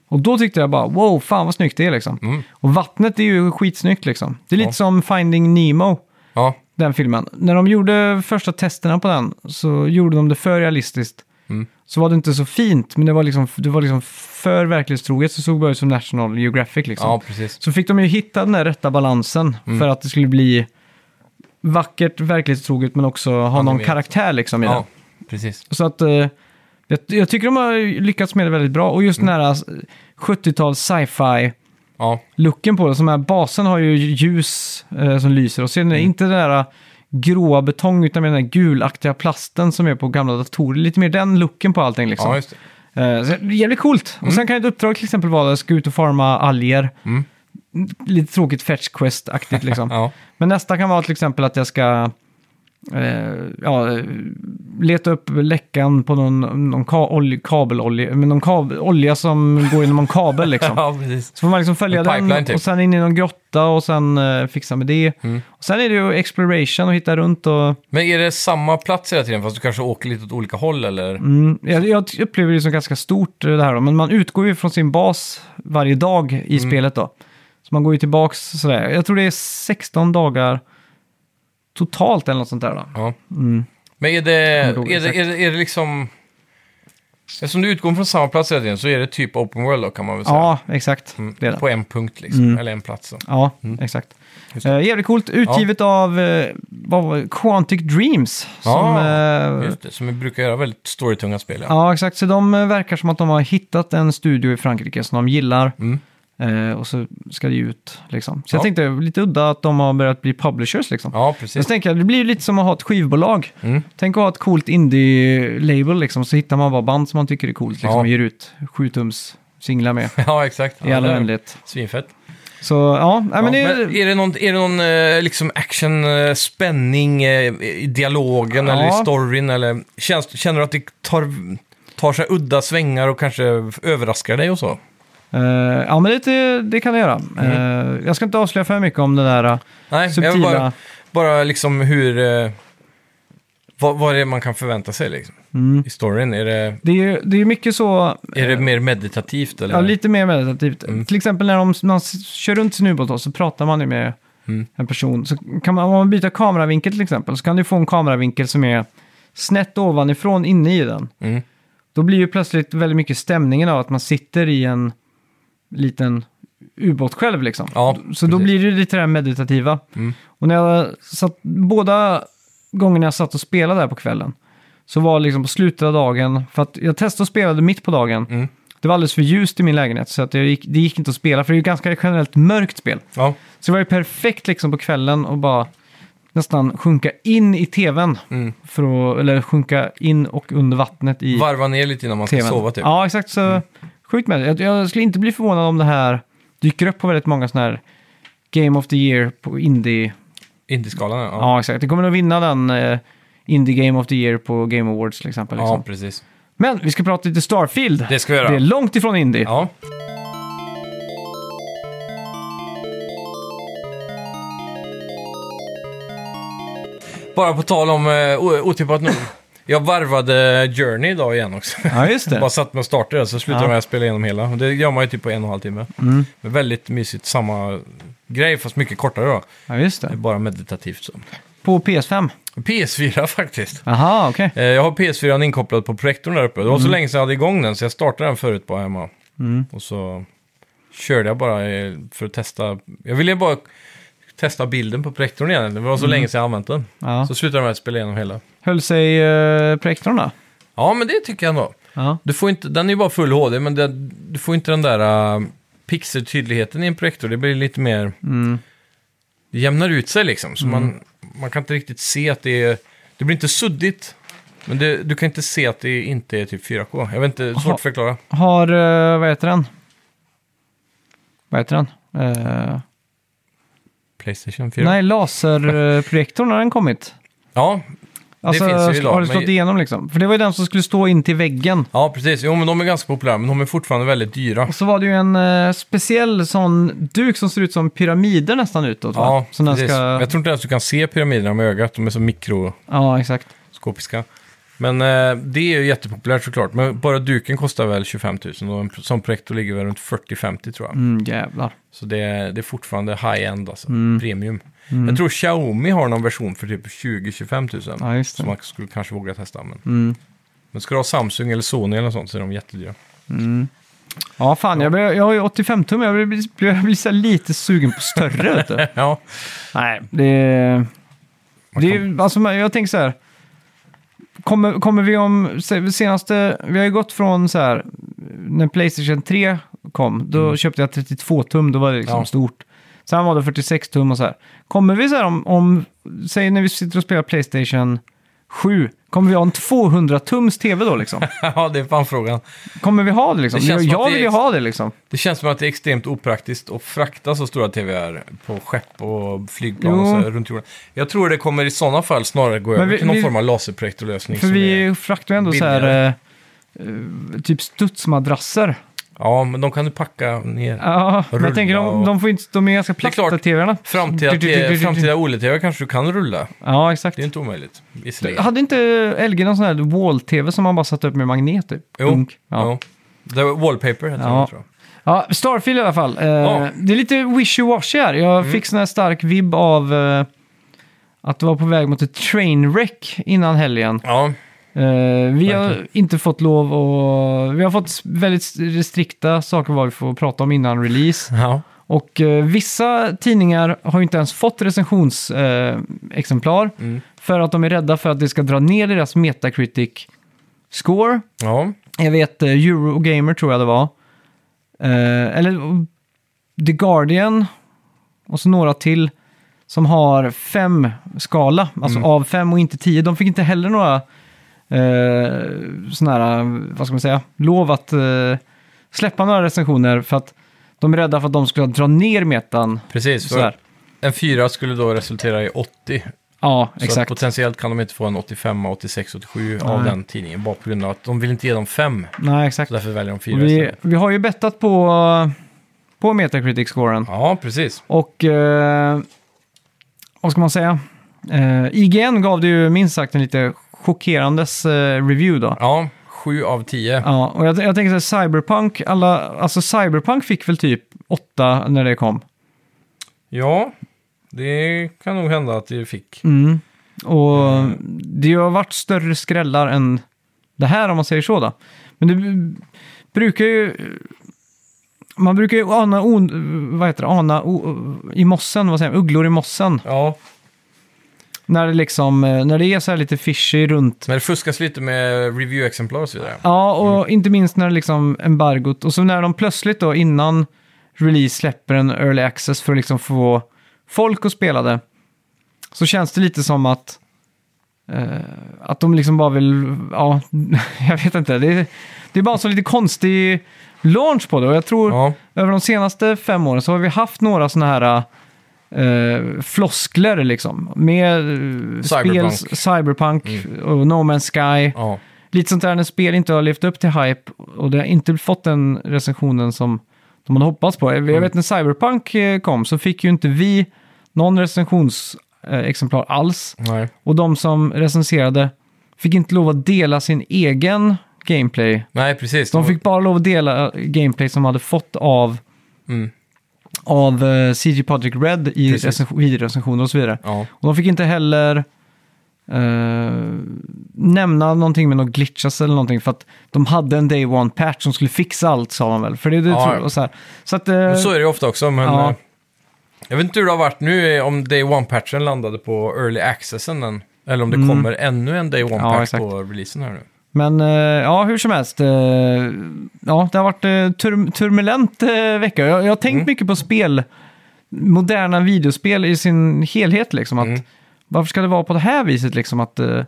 S1: Och då tyckte jag bara, wow, fan vad snyggt det är liksom. Och vattnet är ju skitsnyggt liksom. Det är lite
S2: Mm.
S1: som
S2: Ja.
S1: Finding Nemo,
S2: Ja,
S1: den filmen. När de gjorde första testerna på den så gjorde de det för realistiskt.
S2: Mm.
S1: Så var det inte så fint, men det var liksom, det var liksom för verklighetstroget så såg det bara ut som National Geographic liksom.
S2: ja precis.
S1: Så fick de ju hitta den där rätta balansen
S2: Mm.
S1: för att det skulle bli vackert, verklighetstroget men också ha någon
S2: Animerat.
S1: karaktär liksom i
S2: Ja, precis.
S1: det. Så att eh, jag, jag tycker de har lyckats med det väldigt bra. Och just den här 70-tals sci-fi
S2: Ja,
S1: looken på det. Som här basen har ju ljus eh, som lyser och sen
S2: Mm.
S1: är det inte den där eh, gråa betong utan mer den där gulaktiga plasten som är på gamla datorer. Lite mer den looken på allting liksom.
S2: ja just det.
S1: Eh, Så det är jävligt coolt. Och sen kan ett uppdrag till exempel vara att jag ska ut och farma alger.
S2: Mm.
S1: Lite tråkigt fetch quest-aktigt liksom.
S2: Ja,
S1: Men nästa kan vara till exempel att jag ska eh, ja, leta upp läckan på någon, någon ka- olj, kabelolja, men någon kab- olja som går genom en kabel liksom.
S2: ja precis.
S1: Så får man liksom följa
S2: En
S1: den
S2: pipeline, typ. Mm.
S1: och sen in i någon grotta och sen eh, fixa med det. Och sen är det ju exploration och hitta runt och
S2: Men är det samma plats hela tiden fast du kanske åker lite åt olika håll eller?
S1: Mm, jag, jag upplever det som ganska stort eh, det här då, men man utgår ju från sin bas varje dag i
S2: Mm.
S1: spelet då. Så man går ju tillbaks sådär. Jag tror det är 16 dagar totalt eller något sånt där då.
S2: Ja. Men är det,
S1: Mm. kommer
S2: är
S1: inte ihåg
S2: det, är det,
S1: exakt.
S2: är det, liksom... Eftersom du utgår från samma plats hela tiden så är det typ open world då kan man väl säga. Mm.
S1: Ja, exakt. Det är det. Mm.
S2: På en punkt liksom, eller en plats. Då.
S1: Ja, exakt.
S2: Mm. Just
S1: Eh, jävligt coolt. Utgivet av eh, vad var det? Quantic Dreams. Som, eh,
S2: Just det, som vi brukar göra väldigt storytunga spel. Ja.
S1: ja, exakt. Så de eh, verkar som att de har hittat en studio i Frankrike som de gillar.
S2: Mm.
S1: Eh, och så ska det ju ut liksom. Så jag
S2: Ja.
S1: tänkte lite udda att de har börjat bli publishers liksom.
S2: ja,
S1: Jag
S2: precis.
S1: tänker jag, det blir ju lite som att ha ett skivbolag.
S2: Mm.
S1: Tänk att ha ett coolt indie-label liksom, så hittar man bara band som man tycker är coolt liksom,
S2: Ja.
S1: och ger ut 7 tums singlar med
S2: Ja, exakt.
S1: i
S2: Ja,
S1: all
S2: det är
S1: oändlighet.
S2: Svinfett.
S1: Så ja, nej, men det är
S2: men är det någon, är det någon eh, liksom action, eh, spänning eh, i dialogen
S1: Ja.
S2: eller i storyn? Eller, känns, känner du att det tar, tar sig udda svängar och kanske överraskar dig och så?
S1: Eh, ja, men det, det kan det göra. Eh, jag ska inte avslöja för mycket om det där eh,
S2: Nej, Mm. jag vill
S1: subtila.
S2: bara, bara liksom hur... eh, Vad, vad är det man kan förvänta sig liksom,
S1: Mm.
S2: i storyn? Är det,
S1: Det är ju det är ju mycket så,
S2: är det mer meditativt? Eller?
S1: Eh.
S2: Mm.
S1: ja, lite mer meditativt. Till exempel när de, man s- kör runt sin ubåt då, så pratar man ju med
S2: Mm.
S1: en person. Så kan man, om man byter kameravinkel till exempel så kan du få en kameravinkel som är snett ovanifrån inne i den.
S2: Mm.
S1: Då blir ju plötsligt väldigt mycket stämningen av att man sitter i en liten ubåt själv liksom.
S2: Ja,
S1: Så då
S2: precis. Mm.
S1: blir det ju lite det här meditativa. Och när jag satt, båda gångerna jag satt och spelade där på kvällen, så var det liksom på slutet av dagen, för att jag testade och spelade mitt på dagen.
S2: Mm.
S1: Det var alldeles för ljust i min lägenhet, så att det, gick, det gick inte att spela, för det är ju ganska generellt mörkt spel.
S2: Ja,
S1: Så det var ju perfekt liksom på kvällen och bara nästan sjunka in i tvn,
S2: Mm.
S1: för att, eller sjunka in och under vattnet i
S2: varva ner lite innan man ska
S1: tvn.
S2: sova typ.
S1: Ja, exakt. Så sjukt med det. Jag, jag skulle inte bli förvånad om det här dyker upp på väldigt många sådana här Game of the Year på Indie.
S2: Indieskalan, ja.
S1: Ja, exakt. Det kommer att vinna den eh, Indie Game of the Year på Game Awards till exempel. Liksom.
S2: ja, precis.
S1: Men vi ska prata lite Starfield.
S2: Det ska vi göra.
S1: Det är långt ifrån Indie.
S2: Ja. Bara på tal om eh, o- otippat nog. Jag varvade Journey idag igen också.
S1: Ja, just det.
S2: Bara satt med och startade så slutade
S1: Ja. Mm.
S2: jag med att spela igenom hela. Och det gör man ju typ på en och en halv timme. Men väldigt mysigt, samma grej fast mycket kortare då.
S1: Ja, just
S2: Det är
S1: det.
S2: bara meditativt så.
S1: På PS5.
S2: PS4 faktiskt.
S1: Aha, okej.
S2: Eh, Jag har PS4 inkopplad på projektorn där uppe. Det var så länge sedan jag hade igång den, så jag startade den förut bara hemma. Och så körde jag bara eh, för att testa. Jag ville bara testa bilden på projektorn igen. Det var så länge sedan jag använt den.
S1: Ja.
S2: Så slutade jag med att spela igenom hela.
S1: Höll sig eh, projektorn då?
S2: Ja, men det tycker jag ändå.
S1: Ja.
S2: Du får inte, den är ju bara full HD, men det, du får inte den där uh, pixeltydligheten i en projektor. Det blir lite mer...
S1: Mm.
S2: Det jämnar ut sig liksom, så man, man kan inte riktigt se att det är... Det blir inte suddigt, men det, du kan inte se att det inte är typ 4K. Jag vet inte, det är svårt
S1: Aha.
S2: att förklara.
S1: Har, eh, vad heter den? Vad heter den? Eh,
S2: Playstation 4?
S1: nej, laserprojektorn har den kommit.
S2: Ja,
S1: Alltså,
S2: finns ju
S1: sk-
S2: idag,
S1: har du
S2: men-
S1: slått igenom liksom? För det var ju den som skulle stå in till väggen.
S2: ja, precis. Jo, men de är ganska populära, men de är fortfarande väldigt dyra.
S1: Och så var det ju en eh, speciell sån duk som ser ut som pyramider nästan utåt va?
S2: Ja,
S1: som den
S2: precis.
S1: ska...
S2: Jag tror inte ens du kan se pyramiderna med ögat, de är så mikro...
S1: Ja, exakt.
S2: skopiska. Men eh, det är ju jättepopulärt såklart. Men bara duken kostar väl 25 000 och en pr- sån projektor ligger väl runt 40-50 tror jag.
S1: Mm, jävlar.
S2: Så det, är- det är fortfarande high-end alltså,
S1: Mm.
S2: premium. Jag tror Xiaomi har någon version för typ 20-25 000.
S1: Ja, just det. Mm.
S2: som man skulle kanske våga testa. Men, men ska du ha Samsung eller Sony eller något sånt så är de jättedyra.
S1: Ja, fan, Jag, börjar, jag har ju 85 tum, jag blir, blir, jag blir så här lite sugen på större vet du.
S2: Ja,
S1: Nej, det... det är, alltså, men jag tänker så här. Kommer, kommer vi om... se- Senaste... Vi har ju gått från så här... När Playstation 3 kom, då köpte jag 32 tum, då var det liksom
S2: Mm. Ja.
S1: stort. Sen var det 46 tum och så här. Kommer vi så här om... om säg när vi sitter och spelar Playstation 7, kommer vi ha en 200 tums tv då liksom?
S2: ja det är fan frågan.
S1: Kommer vi ha det liksom?
S2: Det känns
S1: jag
S2: som att
S1: jag
S2: det
S1: vill
S2: är
S1: ju
S2: ex-
S1: ha det liksom.
S2: Det känns som att det är extremt opraktiskt att frakta så stora TVR på skepp och flygplan
S1: Jo.
S2: och så här runt jorden. Jag tror det kommer i sådana fall snarare gå över
S1: vi-
S2: till någon
S1: vi-
S2: form av laserprojektorlösning.
S1: För
S2: som är-
S1: vi fraktar ju ändå så här...
S2: billigare.
S1: Eh, eh, typ studsmadrasser.
S2: Ja, men de kan du packa ner.
S1: Ja, men jag
S2: Rulla
S1: tänker de,
S2: och-
S1: de, får inte, de är ganska
S2: är klart.
S1: platta tv-arna.
S2: Framtida,
S1: Du, du, du, du,
S2: te-
S1: du.
S2: framtida OLED-TV kanske du kan rulla.
S1: Ja, exakt.
S2: Det är inte omöjligt. Visserligen.
S1: Hade inte LG någon sån här wall-tv som man bara satte upp med magnet? Typ?
S2: Jo,
S1: Dunk. Ja.
S2: ja. Det var wallpaper heter
S1: Ja.
S2: det, tror jag.
S1: ja, Starfield i alla fall. Eh,
S2: Ja. Mm.
S1: Det är lite wishy-washy här. Jag fick sån här stark vibb av eh, att det var på väg mot ett trainwreck innan helgen.
S2: Ja,
S1: Eh, vi har
S2: Verkligen.
S1: inte fått lov och Vi har fått väldigt restrikta saker vad vi får prata om innan release.
S2: ja.
S1: Och eh, vissa tidningar har ju inte ens fått recensionsexemplar eh, exemplar
S2: Mm.
S1: för att de är rädda för att det ska dra ner deras Metacritic score.
S2: ja.
S1: Jag vet eh, Eurogamer tror jag det var. Eh, eller mm, The Guardian och så några till som har fem skala, alltså
S2: Mm.
S1: av fem och inte tio. De fick inte heller några eh, sådana här, vad ska man säga, lov att eh, släppa några recensioner för att De är rädda för att de skulle dra ner metan.
S2: Precis,
S1: Så
S2: för
S1: här.
S2: en 4 skulle då resultera i 80.
S1: Ja,
S2: Så att
S1: exakt.
S2: potentiellt kan de inte få en 85, 86, 87 av
S1: Nej.
S2: den tidningen. Bara på grund av att de vill inte ge dem 5.
S1: Nej, exakt.
S2: Så därför väljer de 4
S1: Vi,
S2: istället.
S1: vi har ju bettat på, på Metacritic-scoren.
S2: Ja, precis.
S1: Och eh, vad ska man säga? Eh, IGN gav det ju minst sagt en lite chockerandes eh, review då.
S2: Ja, 7 av 10.
S1: Ja, och jag, jag tänker så här, Cyberpunk, alla, alltså Cyberpunk fick väl typ åtta när det kom.
S2: Ja, det kan nog hända att det fick.
S1: Mm. Och det har varit större skrällar än det här om man säger så då. Men det b- brukar ju... Man brukar ju ana, on, vad heter det, ana o, i mossen, vad säger man, ugglor i mossen.
S2: Ja,
S1: När det liksom, eh, när det är så här lite fishy runt.
S2: men det fuskas lite med review-exemplar och så vidare.
S1: Ja, och
S2: Mm.
S1: inte minst när det liksom embargot. Och så när de plötsligt då innan release släpper en early access för att liksom få folk att spela det. Så känns det lite som att eh, att de liksom bara vill, ja, jag vet inte. Det, är- det är bara en så lite konstig launch på det. Och jag tror
S2: Ja,
S1: över de senaste fem åren så har vi haft några sådana här eh, floskler liksom. Med eh,
S2: Cyberpunk. Mm.
S1: spel, cyberpunk och No Man's Sky.
S2: ja.
S1: Lite sånt där när spel inte har levt upp till hype och det har inte fått den recensionen som de hade hoppats på.
S2: Mm.
S1: Jag vet när Cyberpunk eh, kom så fick ju inte vi någon recensionsexemplar alls.
S2: Nej.
S1: Och de som recenserade fick inte lov att dela sin egen gameplay.
S2: Nej, precis.
S1: De fick bara lov att dela eh, gameplay som hade fått av,
S2: Mm.
S1: av eh, CG Projekt Red i
S2: Precis.
S1: recension, videorecensioner och så vidare.
S2: Ja,
S1: Och de fick inte heller eh, nämna någonting med något glitchas eller någonting för att de hade en day one patch som skulle fixa allt sa man väl. För det, det
S2: Ja,
S1: tror
S2: ja.
S1: jag. Så, här. så att... eh,
S2: Men så är det ju ofta också, men...
S1: Ja.
S2: eh, Jag vet inte hur det har varit nu eh, om Day One-patchen landade på Early Accessen än. Eller om det kommer ännu en Day
S1: Mm. Ja,
S2: One-patch
S1: exakt.
S2: på releasen här nu.
S1: Men eh, ja, hur som helst. eh, ja, det har varit eh, tur turbulent eh, vecka. Jag, jag har
S2: Mm.
S1: tänkt mycket på spel, moderna videospel i sin helhet. Liksom,
S2: Mm.
S1: att, Varför ska det vara på det här viset? Liksom, att, eh,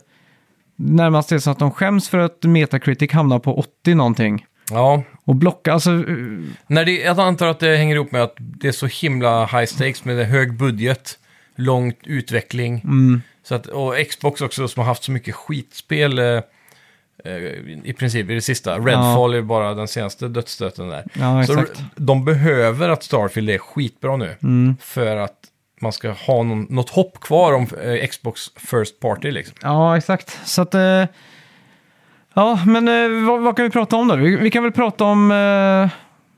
S1: närmast är det så att de skäms för att Metacritic hamnar på 80 någonting.
S2: Ja,
S1: Och blocka, alltså... eh,
S2: När det, jag antar att det hänger ihop med att det är så himla high stakes med det hög budget, lång utveckling.
S1: Mm.
S2: Så att, och Xbox också som har haft så mycket skitspel eh, eh, i princip i det sista. Redfall är bara den senaste dödsstöten där.
S1: Ja,
S2: så
S1: exakt. Mm.
S2: de behöver att Starfield är skitbra nu för att man ska ha någon, något hopp kvar om eh, Xbox First Party liksom.
S1: Ja, exakt. Så att... eh, ja, men eh, vad, vad kan vi prata om då? Vi, vi kan väl prata om... eh,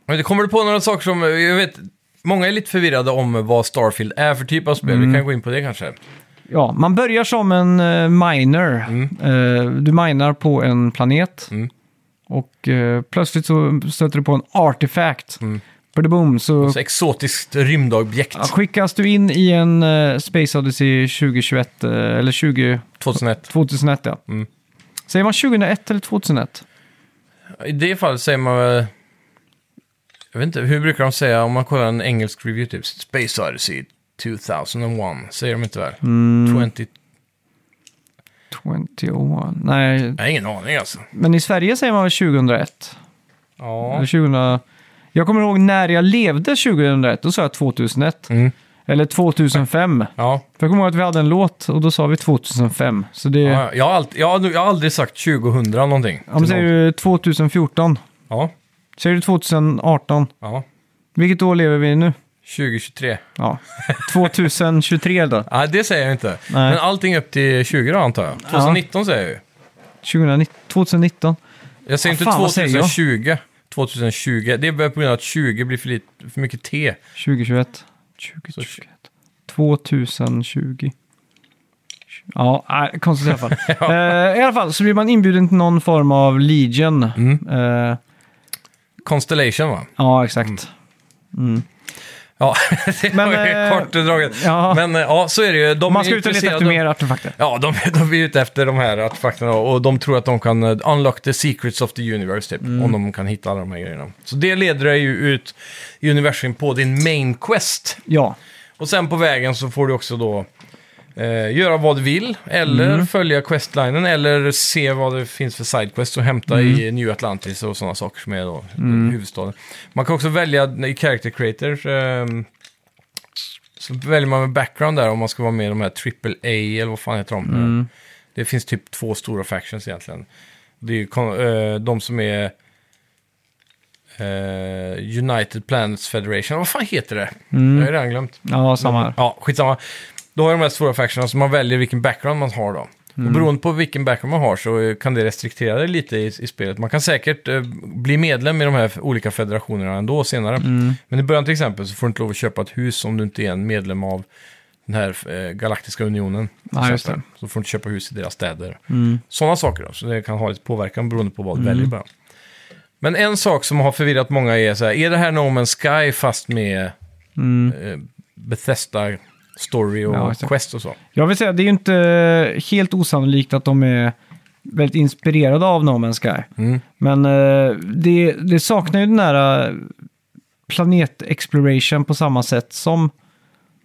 S2: Men det kommer du på några saker som, eh, jag vet, många är lite förvirrade om vad Starfield är för typ av spel.
S1: Mm.
S2: Vi kan gå in på det kanske.
S1: Ja, man börjar som en eh, miner. Eh, du minar på en planet.
S2: Mm.
S1: Och eh, plötsligt så stöter du på en artefakt. Mm. Boom, så,
S2: Så exotiskt rymdobjekt.
S1: ja, skickas du in i en eh, Space Odyssey 2021, eh, eller 20,
S2: 2001.
S1: 2001 ja.
S2: Mm.
S1: Säger man 2001 eller 2001?
S2: I det fallet säger man väl... Jag vet inte, hur brukar de säga om man kollar en engelsk review typ? Space Odyssey 2001. Säger de inte väl?
S1: Mm.
S2: 20...
S1: 2001? Nej,
S2: Jag har ingen aning alltså.
S1: men i Sverige säger man väl 2001?
S2: Ja.
S1: Eller 2000... Jag kommer ihåg när jag levde 2001, då sa jag 2001.
S2: Mm.
S1: Eller 2005.
S2: Ja,
S1: För jag kommer ihåg att vi hade en låt och då sa vi 2005. Så det... Ja,
S2: ja, jag, har alltid, jag, har, nog- jag har aldrig sagt 2000 någonting.
S1: men säger du 2014?
S2: Ja,
S1: Säger du 2018?
S2: ja.
S1: Vilket år lever vi i nu?
S2: 2023.
S1: Ja, 2023 då.
S2: Nej, det säger jag inte.
S1: Nej.
S2: Men allting upp till 20 då, antar jag. 2019 säger jag ju.
S1: 2019. 2019.
S2: Jag säger
S1: Ah,
S2: inte
S1: fan, vad säger jag?
S2: 2020. 2020. Det är bara på grund av att 20 blir för, lite, för mycket T.
S1: 2021. 2021. 2020. Ja, nej, konstigt i alla fall. Eh, I alla fall så blir man inbjuden till någon form av Legion. Eh,
S2: Constellation va?
S1: ja,
S2: Mm.
S1: exakt.
S2: Ja, det
S1: Men,
S2: var ju
S1: eh,
S2: kort draget.
S1: ja.
S2: Men eh, ja, så är det ju. De
S1: Man
S2: är
S1: ska ut och leta efter
S2: intresserade-
S1: mer artefakter.
S2: Ja, de, de är ute efter de här artefakterna och de tror att de kan eh, unlock the secrets of the universe typ.
S1: Mm.
S2: Om de kan hitta alla de här grejerna. Så det leder dig ju ut i universum på din main quest.
S1: Ja,
S2: Och sen på vägen så får du också då eh, göra vad du vill, eller följa questlinen, eller se vad det finns för sidequests att hämta i New Atlantis och sådana saker som är då huvudstaden. Man kan också välja i Character Creator, ehm, så väljer man med background där om man ska vara med i de här AAA eller vad fan heter de? Det finns typ två stora factions egentligen. Det är ju kon- eh, de som är eh, United Planets Federation. Vad fan heter det? Jag har ju redan glömt.
S1: Ja, samma här.
S2: Ja, skitsamma. Då har jag de här stora factionerna, så man väljer vilken background man har då.
S1: Mm.
S2: Och beroende på vilken background man har så eh, kan det restriktera det lite i, i spelet. Man kan säkert eh, bli medlem i de här f- olika federationerna ändå senare.
S1: Mm.
S2: Men i början till exempel så får du inte lov att köpa ett hus om du inte är en medlem av den här eh, galaktiska unionen.
S1: Ja, just det. Mm.
S2: Så får du inte köpa hus i deras städer. Sådana saker då, så det kan ha lite påverkan beroende på vad du väljer bara. Men en sak som har förvirrat många är så här, är det här No Man's Sky fast med eh, Bethesda Story och
S1: Ja, exakt.
S2: Quest och så?
S1: Jag vill säga, det är ju inte helt osannolikt att de är väldigt inspirerade av No Man's Sky.
S2: Mm.
S1: Men eh, det, det saknar ju den där eh, planet-exploration på samma sätt som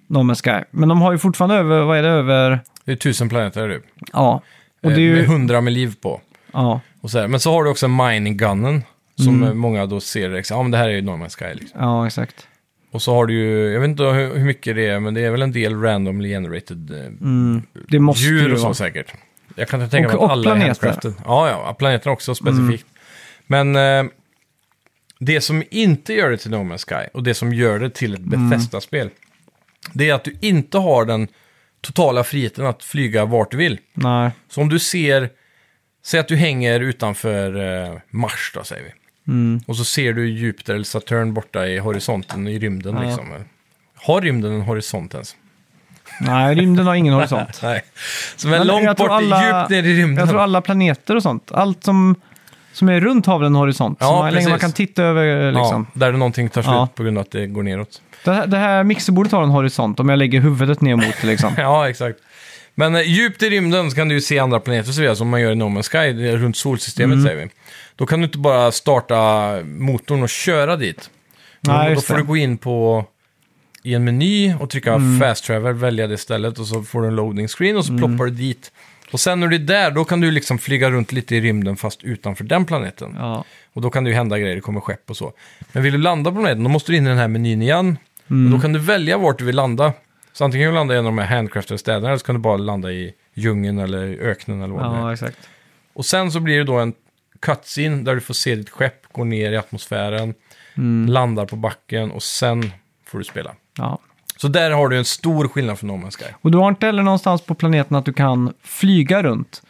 S1: No Man's Sky. Men de har ju fortfarande över, vad är det, över...
S2: Det är tusen planeter du. Eh,
S1: Ja. Och det är
S2: Med
S1: ju...
S2: hundra med liv på.
S1: Ja,
S2: Och så här. Men så har du också mining gunnen. Som
S1: Mm.
S2: eh, många då ser, liksom, ja men det här är ju No Man's Sky liksom.
S1: ja exakt.
S2: Och så har du ju, jag vet inte hur, hur mycket det är, men det är väl en del randomly generated eh,
S1: Det måste
S2: djur
S1: ju
S2: och så
S1: vara.
S2: säkert. Jag kan inte tänka mig
S1: Och-
S2: att
S1: och
S2: alla är
S1: planeter.
S2: handcrafted. Ja, ja, planeterna också specifikt.
S1: Mm.
S2: Men eh, det som inte gör det till No Man's Sky och det som gör det till ett
S1: Mm.
S2: Bethesda-spel, det är att du inte har den totala friheten att flyga vart du vill.
S1: Nej.
S2: Så om du ser, säg att du hänger utanför eh, Mars då säger vi.
S1: Mm.
S2: Och så ser du Jupiter eller Saturn borta i horisonten i rymden
S1: Ja.
S2: liksom. Har rymden en horisont ens?
S1: Nej, rymden har ingen horisont.
S2: Nej. Som är
S1: Men
S2: långt
S1: jag tror
S2: bort, djupt ner i rymden.
S1: Jag tror alla planeter och sånt. Allt som, som är runt har väl en horisont.
S2: Ja,
S1: så man, länge
S2: precis.
S1: man kan titta över eh, liksom.
S2: Ja, där någonting tar slut
S1: Ja.
S2: på grund av att det går neråt.
S1: Det, här, det här mixerbordet har en horisont om jag lägger huvudet ner mot liksom.
S2: Ja, exakt. Men eh, djupt i rymden så kan du ju se andra planeter och så vidare, som man gör i No Man's Sky, det är runt solsystemet
S1: Mm.
S2: säger vi. Då kan du inte bara starta motorn och köra dit.
S1: Nej,
S2: då
S1: just
S2: får
S1: det. Mm.
S2: du gå in på i en meny och trycka fast travel, välja det stället och så får du en loading screen och så ploppar du dit. Och sen när du är där, då kan du liksom flyga runt lite i rymden fast utanför den planeten.
S1: Ja.
S2: Och då kan det ju hända grejer, det kommer skepp och så. Men vill du landa på planeten, då måste du in i den här menyn igen.
S1: Mm.
S2: Och då kan du välja vart du vill landa. Så antingen kan du landa i en av de här handcraftade städerna, eller så kan du bara landa i djungeln eller i öknen eller vad det är.
S1: ja, exakt.
S2: Och sen så blir det då en cutscene där du får se ditt skepp gå ner i atmosfären,
S1: Mm.
S2: landar på backen och sen får du spela.
S1: Ja.
S2: Så där har du en stor skillnad från No Man's Sky.
S1: Och du har inte heller någonstans på planeten att du kan flyga runt.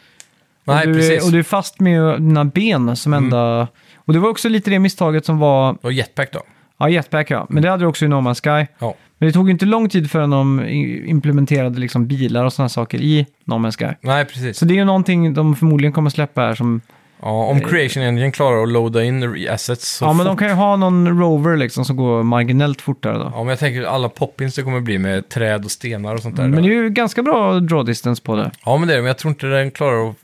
S2: Nej,
S1: och, du
S2: precis. Mm.
S1: Är, och du är fast med dina ben som enda... Och det var också lite det misstaget som var...
S2: Och Jetpack då?
S1: Ja, jetpack ja. Men det hade du också i No Man's Sky.
S2: Ja.
S1: Men det tog ju inte lång tid förrän de i- implementerade liksom bilar och sådana saker i No Man's Sky.
S2: Nej, precis.
S1: Så det är ju någonting de förmodligen kommer släppa här som...
S2: Ja, om Creation Engine klarar att loada in re- assets så
S1: ja, men
S2: fort-
S1: de kan ju ha någon Rover liksom som går marginellt fortare då.
S2: Ja, men jag tänker alla poppins det kommer bli med träd och stenar och sånt där.
S1: Mm, men det är ju ganska bra draw distance på det.
S2: Ja, men det är det. Men jag tror inte den klarar att...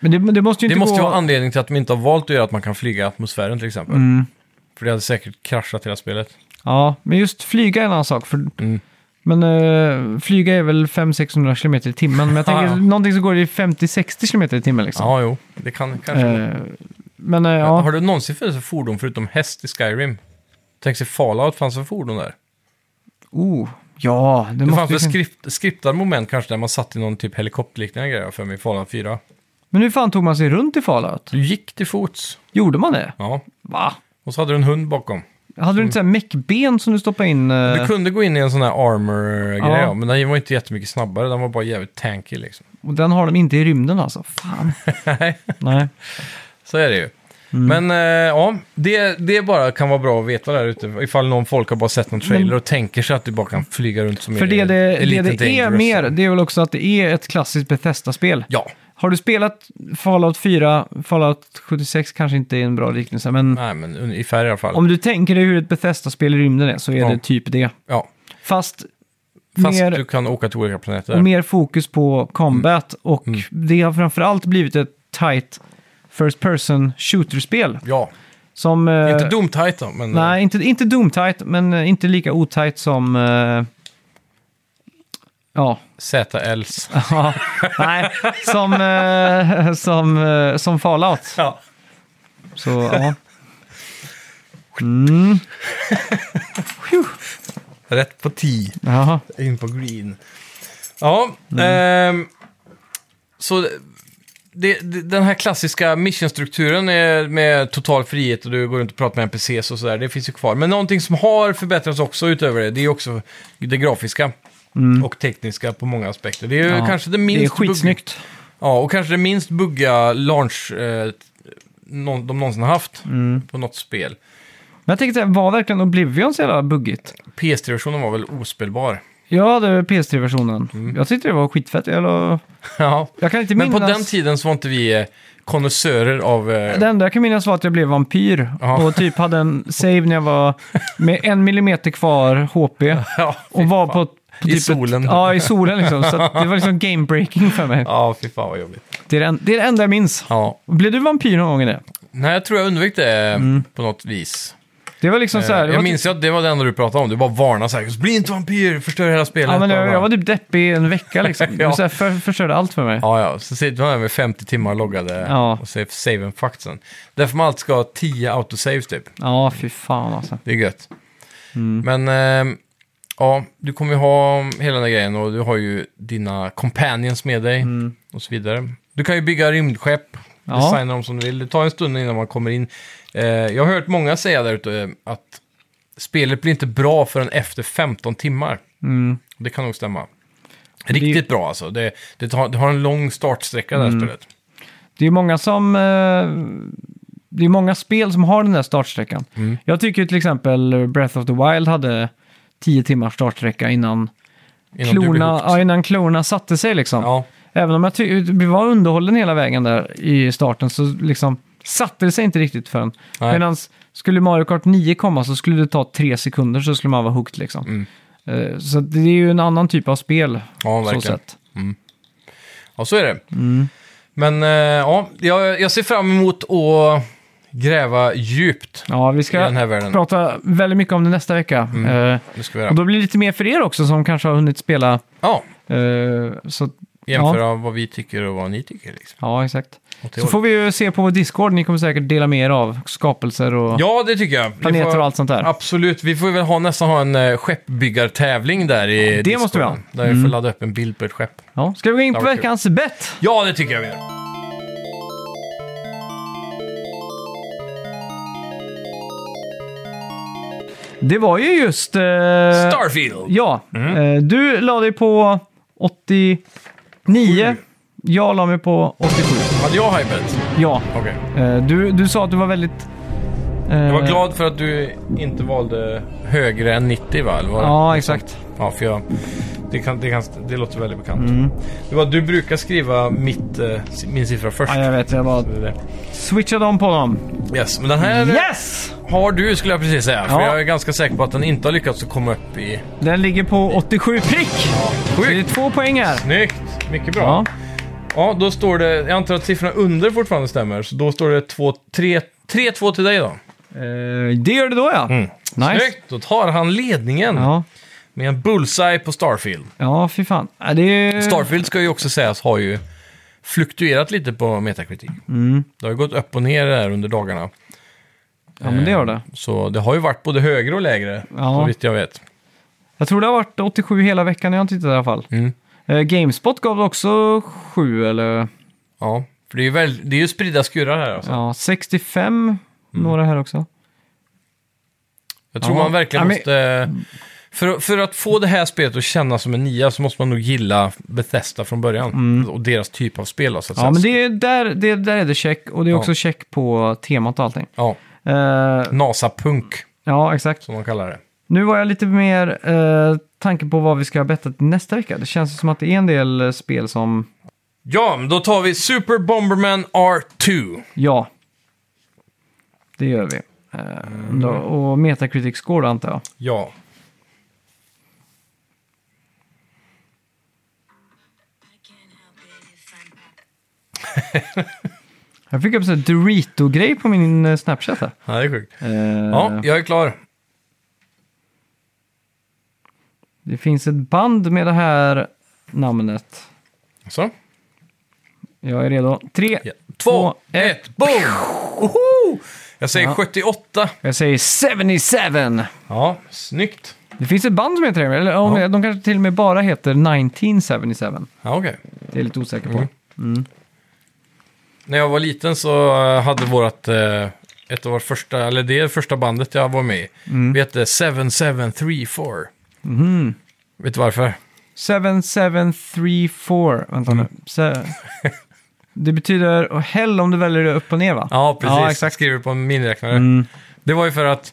S1: Men det, men det måste ju
S2: Det
S1: inte
S2: måste ju
S1: gå...
S2: vara anledning till att de inte har valt att göra att man kan flyga i atmosfären till exempel.
S1: Mm.
S2: För det hade säkert kraschat hela spelet.
S1: Ja, men just flyga är en annan sak. För...
S2: Mm.
S1: Men eh, flyga är väl 500-600 km i timmen. Men jag tänker
S2: Ja.
S1: någonting som går i 50-60 km i timmen liksom.
S2: Ja, jo. Det kan kanske...
S1: Eh, men eh,
S2: Ja.
S1: ja,
S2: Har du någonsin funnits för fordon förutom häst i Skyrim? Tänk sig Fallout, fanns det fordon där?
S1: oh, ja, det,
S2: Det
S1: måste
S2: fanns väl
S1: ju-
S2: skript, skriptade moment kanske där man satt i någon typ helikopterliknande grej har jag för mig i Fallout 4.
S1: Men hur fan tog man sig runt i Fallout?
S2: Du gick till fots.
S1: Gjorde man det?
S2: Ja.
S1: Va?
S2: Och så hade du en hund bakom.
S1: Hade du inte såhär meckben som du stoppade in? eh,
S2: Du Mm. kunde gå in i en sån här armor-grej,
S1: Ja.
S2: ja. men den var inte jättemycket snabbare. Den var bara jävligt tanky liksom.
S1: Och den har de inte i rymden alltså. Fan.
S2: Nej.
S1: Nej.
S2: Så är det ju.
S1: Mm.
S2: Men eh, ja, det, det bara kan vara bra att veta där ute. Ifall någon folk har bara sett någon trailer och tänker sig att du bara kan flyga runt som
S1: För
S2: i
S1: det det, det,
S2: Elite
S1: det är
S2: Dangerous.
S1: mer, det är väl också att det är ett klassiskt Bethesda-spel.
S2: Ja,
S1: Har du spelat Fallout 4, Fallout 76 kanske inte är en bra liknelse, men
S2: nej men ungefär i alla fall.
S1: om du tänker dig hur ett Bethesda-spel i rymden är så är
S2: Ja.
S1: det typ det.
S2: Ja.
S1: Fast,
S2: Fast
S1: mer,
S2: du kan åka till olika planeter.
S1: och mer fokus på combat
S2: Mm.
S1: och det har framförallt blivit ett tight first person shooter-spel.
S2: Ja,
S1: Som, eh,
S2: inte Doomtight då, men...
S1: Nej, inte, inte Doom-tight, men eh, inte lika otight som... eh, Ja,
S2: ZLs.
S1: ja. nej, som, eh, som, eh, som Fallout.
S2: Ja.
S1: Så, ja.
S2: Rätt på 10.
S1: Jaha.
S2: In på green. Ja, ehm, så det, det, den här klassiska missionstrukturen är med total frihet och du går runt och pratar med NPCs och sådär, det finns ju kvar. Men någonting som har förbättrats också utöver det, det är ju också det grafiska. Och tekniska på många aspekter. Det är ju
S1: Ja.
S2: kanske Mm. det minst
S1: Det är
S2: bugg-
S1: skitsnyggt.
S2: Ja, och kanske det minst bugga launch eh, någon, de någonsin har haft på något spel.
S1: Men jag tänkte, var verkligen Oblivion så jävla buggigt?
S2: PS3-versionen var väl ospelbar?
S1: Ja, det är PS3-versionen. Jag tyckte det var skitfett. Jag, la-
S2: ja.
S1: jag kan inte
S2: Mm. Men
S1: minnas...
S2: på den tiden så var inte vi eh, konnässörer av... eh,
S1: Det enda jag kan minnas var att jag blev vampyr
S2: Ja.
S1: och typ hade en save när jag var med en millimeter kvar HP.
S2: Ja,
S1: Och var på... på typ
S2: I solen.
S1: Ja, i solen liksom. Så att det var liksom game-breaking för mig.
S2: ja, fy fan vad jobbigt.
S1: Det, är det, det är det enda jag minns.
S2: Ja.
S1: Blev du vampyr någon gång i det?
S2: Nej, jag tror jag undvek det eh, på något vis.
S1: Det var liksom Mm. så här... det
S2: Eh, jag
S1: var
S2: minns ju att det var det enda du pratade om. Du bara varnade så här, bli inte vampyr, förstör hela spelet.
S1: Ja, men jag,
S2: Bara-
S1: jag var typ deppig en vecka liksom.
S2: Ja.
S1: Det var så här, för, förstörde allt för mig. Ja.
S2: Ja, ja, så sitter man där med 50 timmar loggade
S1: Ja.
S2: och save, save en fuck sen. Därför man alltid ska ha 10 autosaves typ.
S1: fy fan alltså.
S2: Det är gött.
S1: Mm.
S2: Men eh, ja, du kommer ju ha hela den här grejen och du har ju dina companions med dig och så vidare. Du kan ju bygga rymdskepp,
S1: Mm. Ja.
S2: designa dem som du vill. Det tar en stund innan man kommer in. Eh, jag har hört många säga där ute eh, att spelet blir inte bra förrän efter 15 timmar.
S1: Mm.
S2: Och Det kan nog stämma. Riktigt bra alltså. Det, det, tar, det har en lång startsträcka det här
S1: Mm.
S2: spelet.
S1: Det är ju många som... Eh, det är många spel som har den där startsträckan.
S2: Mm.
S1: Jag tycker ju till exempel Breath of the Wild hade 10 timmars startsträcka innan
S2: Innan du blir
S1: klorna,
S2: hooked.
S1: ja, innan klorna satte sig liksom.
S2: ja.
S1: Även om jag ty- vi var underhållen hela vägen där i starten så liksom satte det sig inte riktigt förrän.
S2: Nej.
S1: Medan skulle Mario Kart 9 komma så skulle det ta tre sekunder så skulle man vara hooked liksom.
S2: Mm.
S1: Eh, Så det är ju en annan typ av spel.
S2: Ja,
S1: så
S2: verkligen.
S1: sett.
S2: Ja, så är det. Men eh, ja, jag, jag ser fram emot att gräva djupt
S1: Ja, vi
S2: i
S1: ska
S2: den här Mm. världen.
S1: prata väldigt mycket om det nästa vecka. Eh,
S2: Det ska vi
S1: Och
S2: göra.
S1: då blir det lite mer för er också som kanske har hunnit spela.
S2: Ja,
S1: eh, så,
S2: jämföra vad vi tycker och vad ni tycker. Liksom.
S1: ja, exakt.
S2: Åt det
S1: Så får
S2: hållet.
S1: vi ju se på vår Discord. Ni kommer säkert dela med er av skapelser och
S2: Ja, det tycker jag. Vi
S1: planeter
S2: får-
S1: och allt sånt där.
S2: Absolut, vi får väl ha, nästan ha en eh, skeppbyggartävling där i
S1: det måste vi ha. Mm.
S2: Discorden, Där vi får ladda upp en bild på ett skepp.
S1: Ja. Ska vi gå in på
S2: Det var kul.
S1: veckans bett?
S2: Ja, det tycker jag vi
S1: Eh,
S2: gör.
S1: Det var ju just... eh,
S2: Starfield!
S1: Ja,
S2: Mm.
S1: eh, du la dig på 89. Jag la mig på 87.
S2: Hade jag hypat?
S1: Ja,
S2: Okej.
S1: eh, du, du sa att du var väldigt... eh,
S2: Jag var glad för att du inte valde högre än 90 va? Eller vad-
S1: Ja, exakt.
S2: Ja, för jag, det, kan, det, kan, det låter väldigt bekant.
S1: Mm.
S2: Det var, du brukar skriva mitt, eh, min siffra först.
S1: Ja, jag vet, jag bara
S2: Det är det.
S1: switchade om på dem.
S2: Yes, men den här
S1: Yes!
S2: har du skulle jag precis säga. För
S1: Ja.
S2: jag är ganska säker på att den inte har lyckats att komma upp i...
S1: Den ligger på 87 prick! Så det är
S2: Sjukt!
S1: två poäng här.
S2: Snyggt! Mycket bra.
S1: Ja.
S2: Ja. då står det... Jag antar att siffrorna under fortfarande stämmer. Så då står det 3-2 till dig då.
S1: Eh, det gör det då ja. Nice.
S2: Mm. Snyggt! Då tar han ledningen
S1: Ja,
S2: med en bullseye på Starfield.
S1: ja fy fan. Ja, det är ju...
S2: Starfield ska ju också sägas har ju fluktuerat lite på Metacritic.
S1: Mm.
S2: Det har ju gått upp och ner där under dagarna.
S1: Ja, men det gör det.
S2: Så det har ju varit både högre och lägre,
S1: Ja.
S2: så vitt jag vet.
S1: Jag tror det har varit 87 hela veckan när jag tittat i alla fall.
S2: Mm.
S1: Eh, Gamespot gav det också 7 eller
S2: Ja, för det är ju, väl, det är ju spridda skurar här alltså.
S1: ja, 65,
S2: Mm.
S1: några här också.
S2: Jag tror
S1: Ja.
S2: man verkligen
S1: Ja, men-
S2: måste... För, för att få det här spelet att kännas som en nia så måste man nog gilla Bethesda från början. Och deras typ av spel då, så att
S1: Mm. Ja,
S2: säga.
S1: men det är, där, det, där är det check och det är
S2: Ja.
S1: också check på temat och allting.
S2: Ja,
S1: Eh,
S2: NASA-punk
S1: ja, exakt.
S2: som de kallar det.
S1: Nu var jag lite mer eh, tanke på vad vi ska betta till nästa vecka. Det känns som att det är en del eh, spel som,
S2: Ja, men då tar vi Super Bomberman R2.
S1: ja, det gör vi. Eh,
S2: Mm.
S1: då, och Metacritic score då, antar jag.
S2: Ja.
S1: Jag fick upp en Dorito-grej på min eh, Snapchat här.
S2: ja, det är sjukt.
S1: Eh,
S2: Ja, jag är klar.
S1: Det finns ett band med det här namnet.
S2: Så.
S1: Jag är redo. Tre,
S2: Ja. Två, ett, boom! Oho! Jag säger
S1: Ja.
S2: 78.
S1: Jag säger 77.
S2: Ja, snyggt.
S1: Det finns ett band som heter det, eller om
S2: Ja.
S1: de kanske till och med bara heter 1977.
S2: Ja, okej.
S1: Det är jag lite osäker på.
S2: Mm. När jag var liten så eh, hade vårt, eh, ett av våra första, eller det första bandet jag var med i,
S1: Mm.
S2: vi hette 7734.
S1: Mhm.
S2: Vet du varför?
S1: 7734, vänta nu.
S2: Mm.
S1: Se- Det betyder oh, hell om du väljer det upp och ner va?
S2: Ja, precis.
S1: Ja, exakt. Mm.
S2: Skriver på en miniräknare. Det var ju för att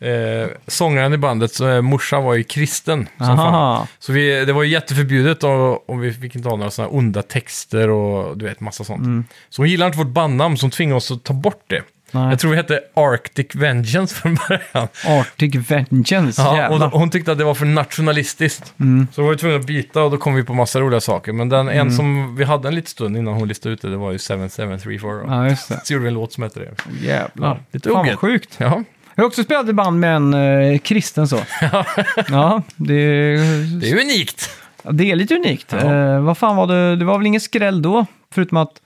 S2: eh, sångaren i bandets eh, morsa var ju kristen. Som fan.
S1: Aha.
S2: Så vi, det var ju jätteförbjudet och, och vi fick inte ha några sådana onda texter och du vet, massa sånt.
S1: Mm.
S2: Så hon gillade inte vårt bandnamn så hon tvingade oss att ta bort det.
S1: Nej.
S2: Jag tror vi hette Arctic Vengeance från början.
S1: Arctic Vengeance,
S2: Ja, och
S1: jävlar. Mm.
S2: hon tyckte att det var för nationalistiskt. Så vi var ju tvungna att byta och då kom vi på massa roliga saker. Men den en som vi hade en liten stund innan hon listade ut det, det var ju 7734. då.
S1: Ja, just det.
S2: Så gjorde vi en låt som hette det.
S1: Jävlar.
S2: Lite
S1: Fan
S2: ogett.
S1: vad sjukt.
S2: Ja,
S1: Jag har också spelat i band med en eh, kristen så. ja, det,
S2: det är unikt.
S1: Ja, Det är lite unikt.
S2: Ja.
S1: Eh, vad fan var det? Det var väl ingen skräll då? Förutom att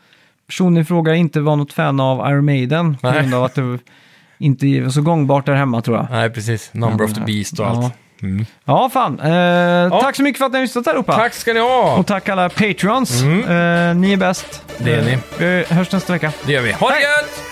S1: personen i fråga inte var något fan av Iron Maiden. På
S2: Nej.
S1: grund av att det inte var så gångbart där hemma tror jag.
S2: Nej, precis. Number of the Beast och
S1: Ja.
S2: allt. Mm.
S1: Ja, fan. Eh, Tack så mycket för att ni har lyssnat allihopa.
S2: Tack ska ni ha!
S1: Och tack alla Patreons.
S2: Mm.
S1: Eh, ni är bäst.
S2: Det är ni.
S1: Vi hörs nästa vecka.
S2: Det gör vi. Ha det
S1: Hej!
S2: gött!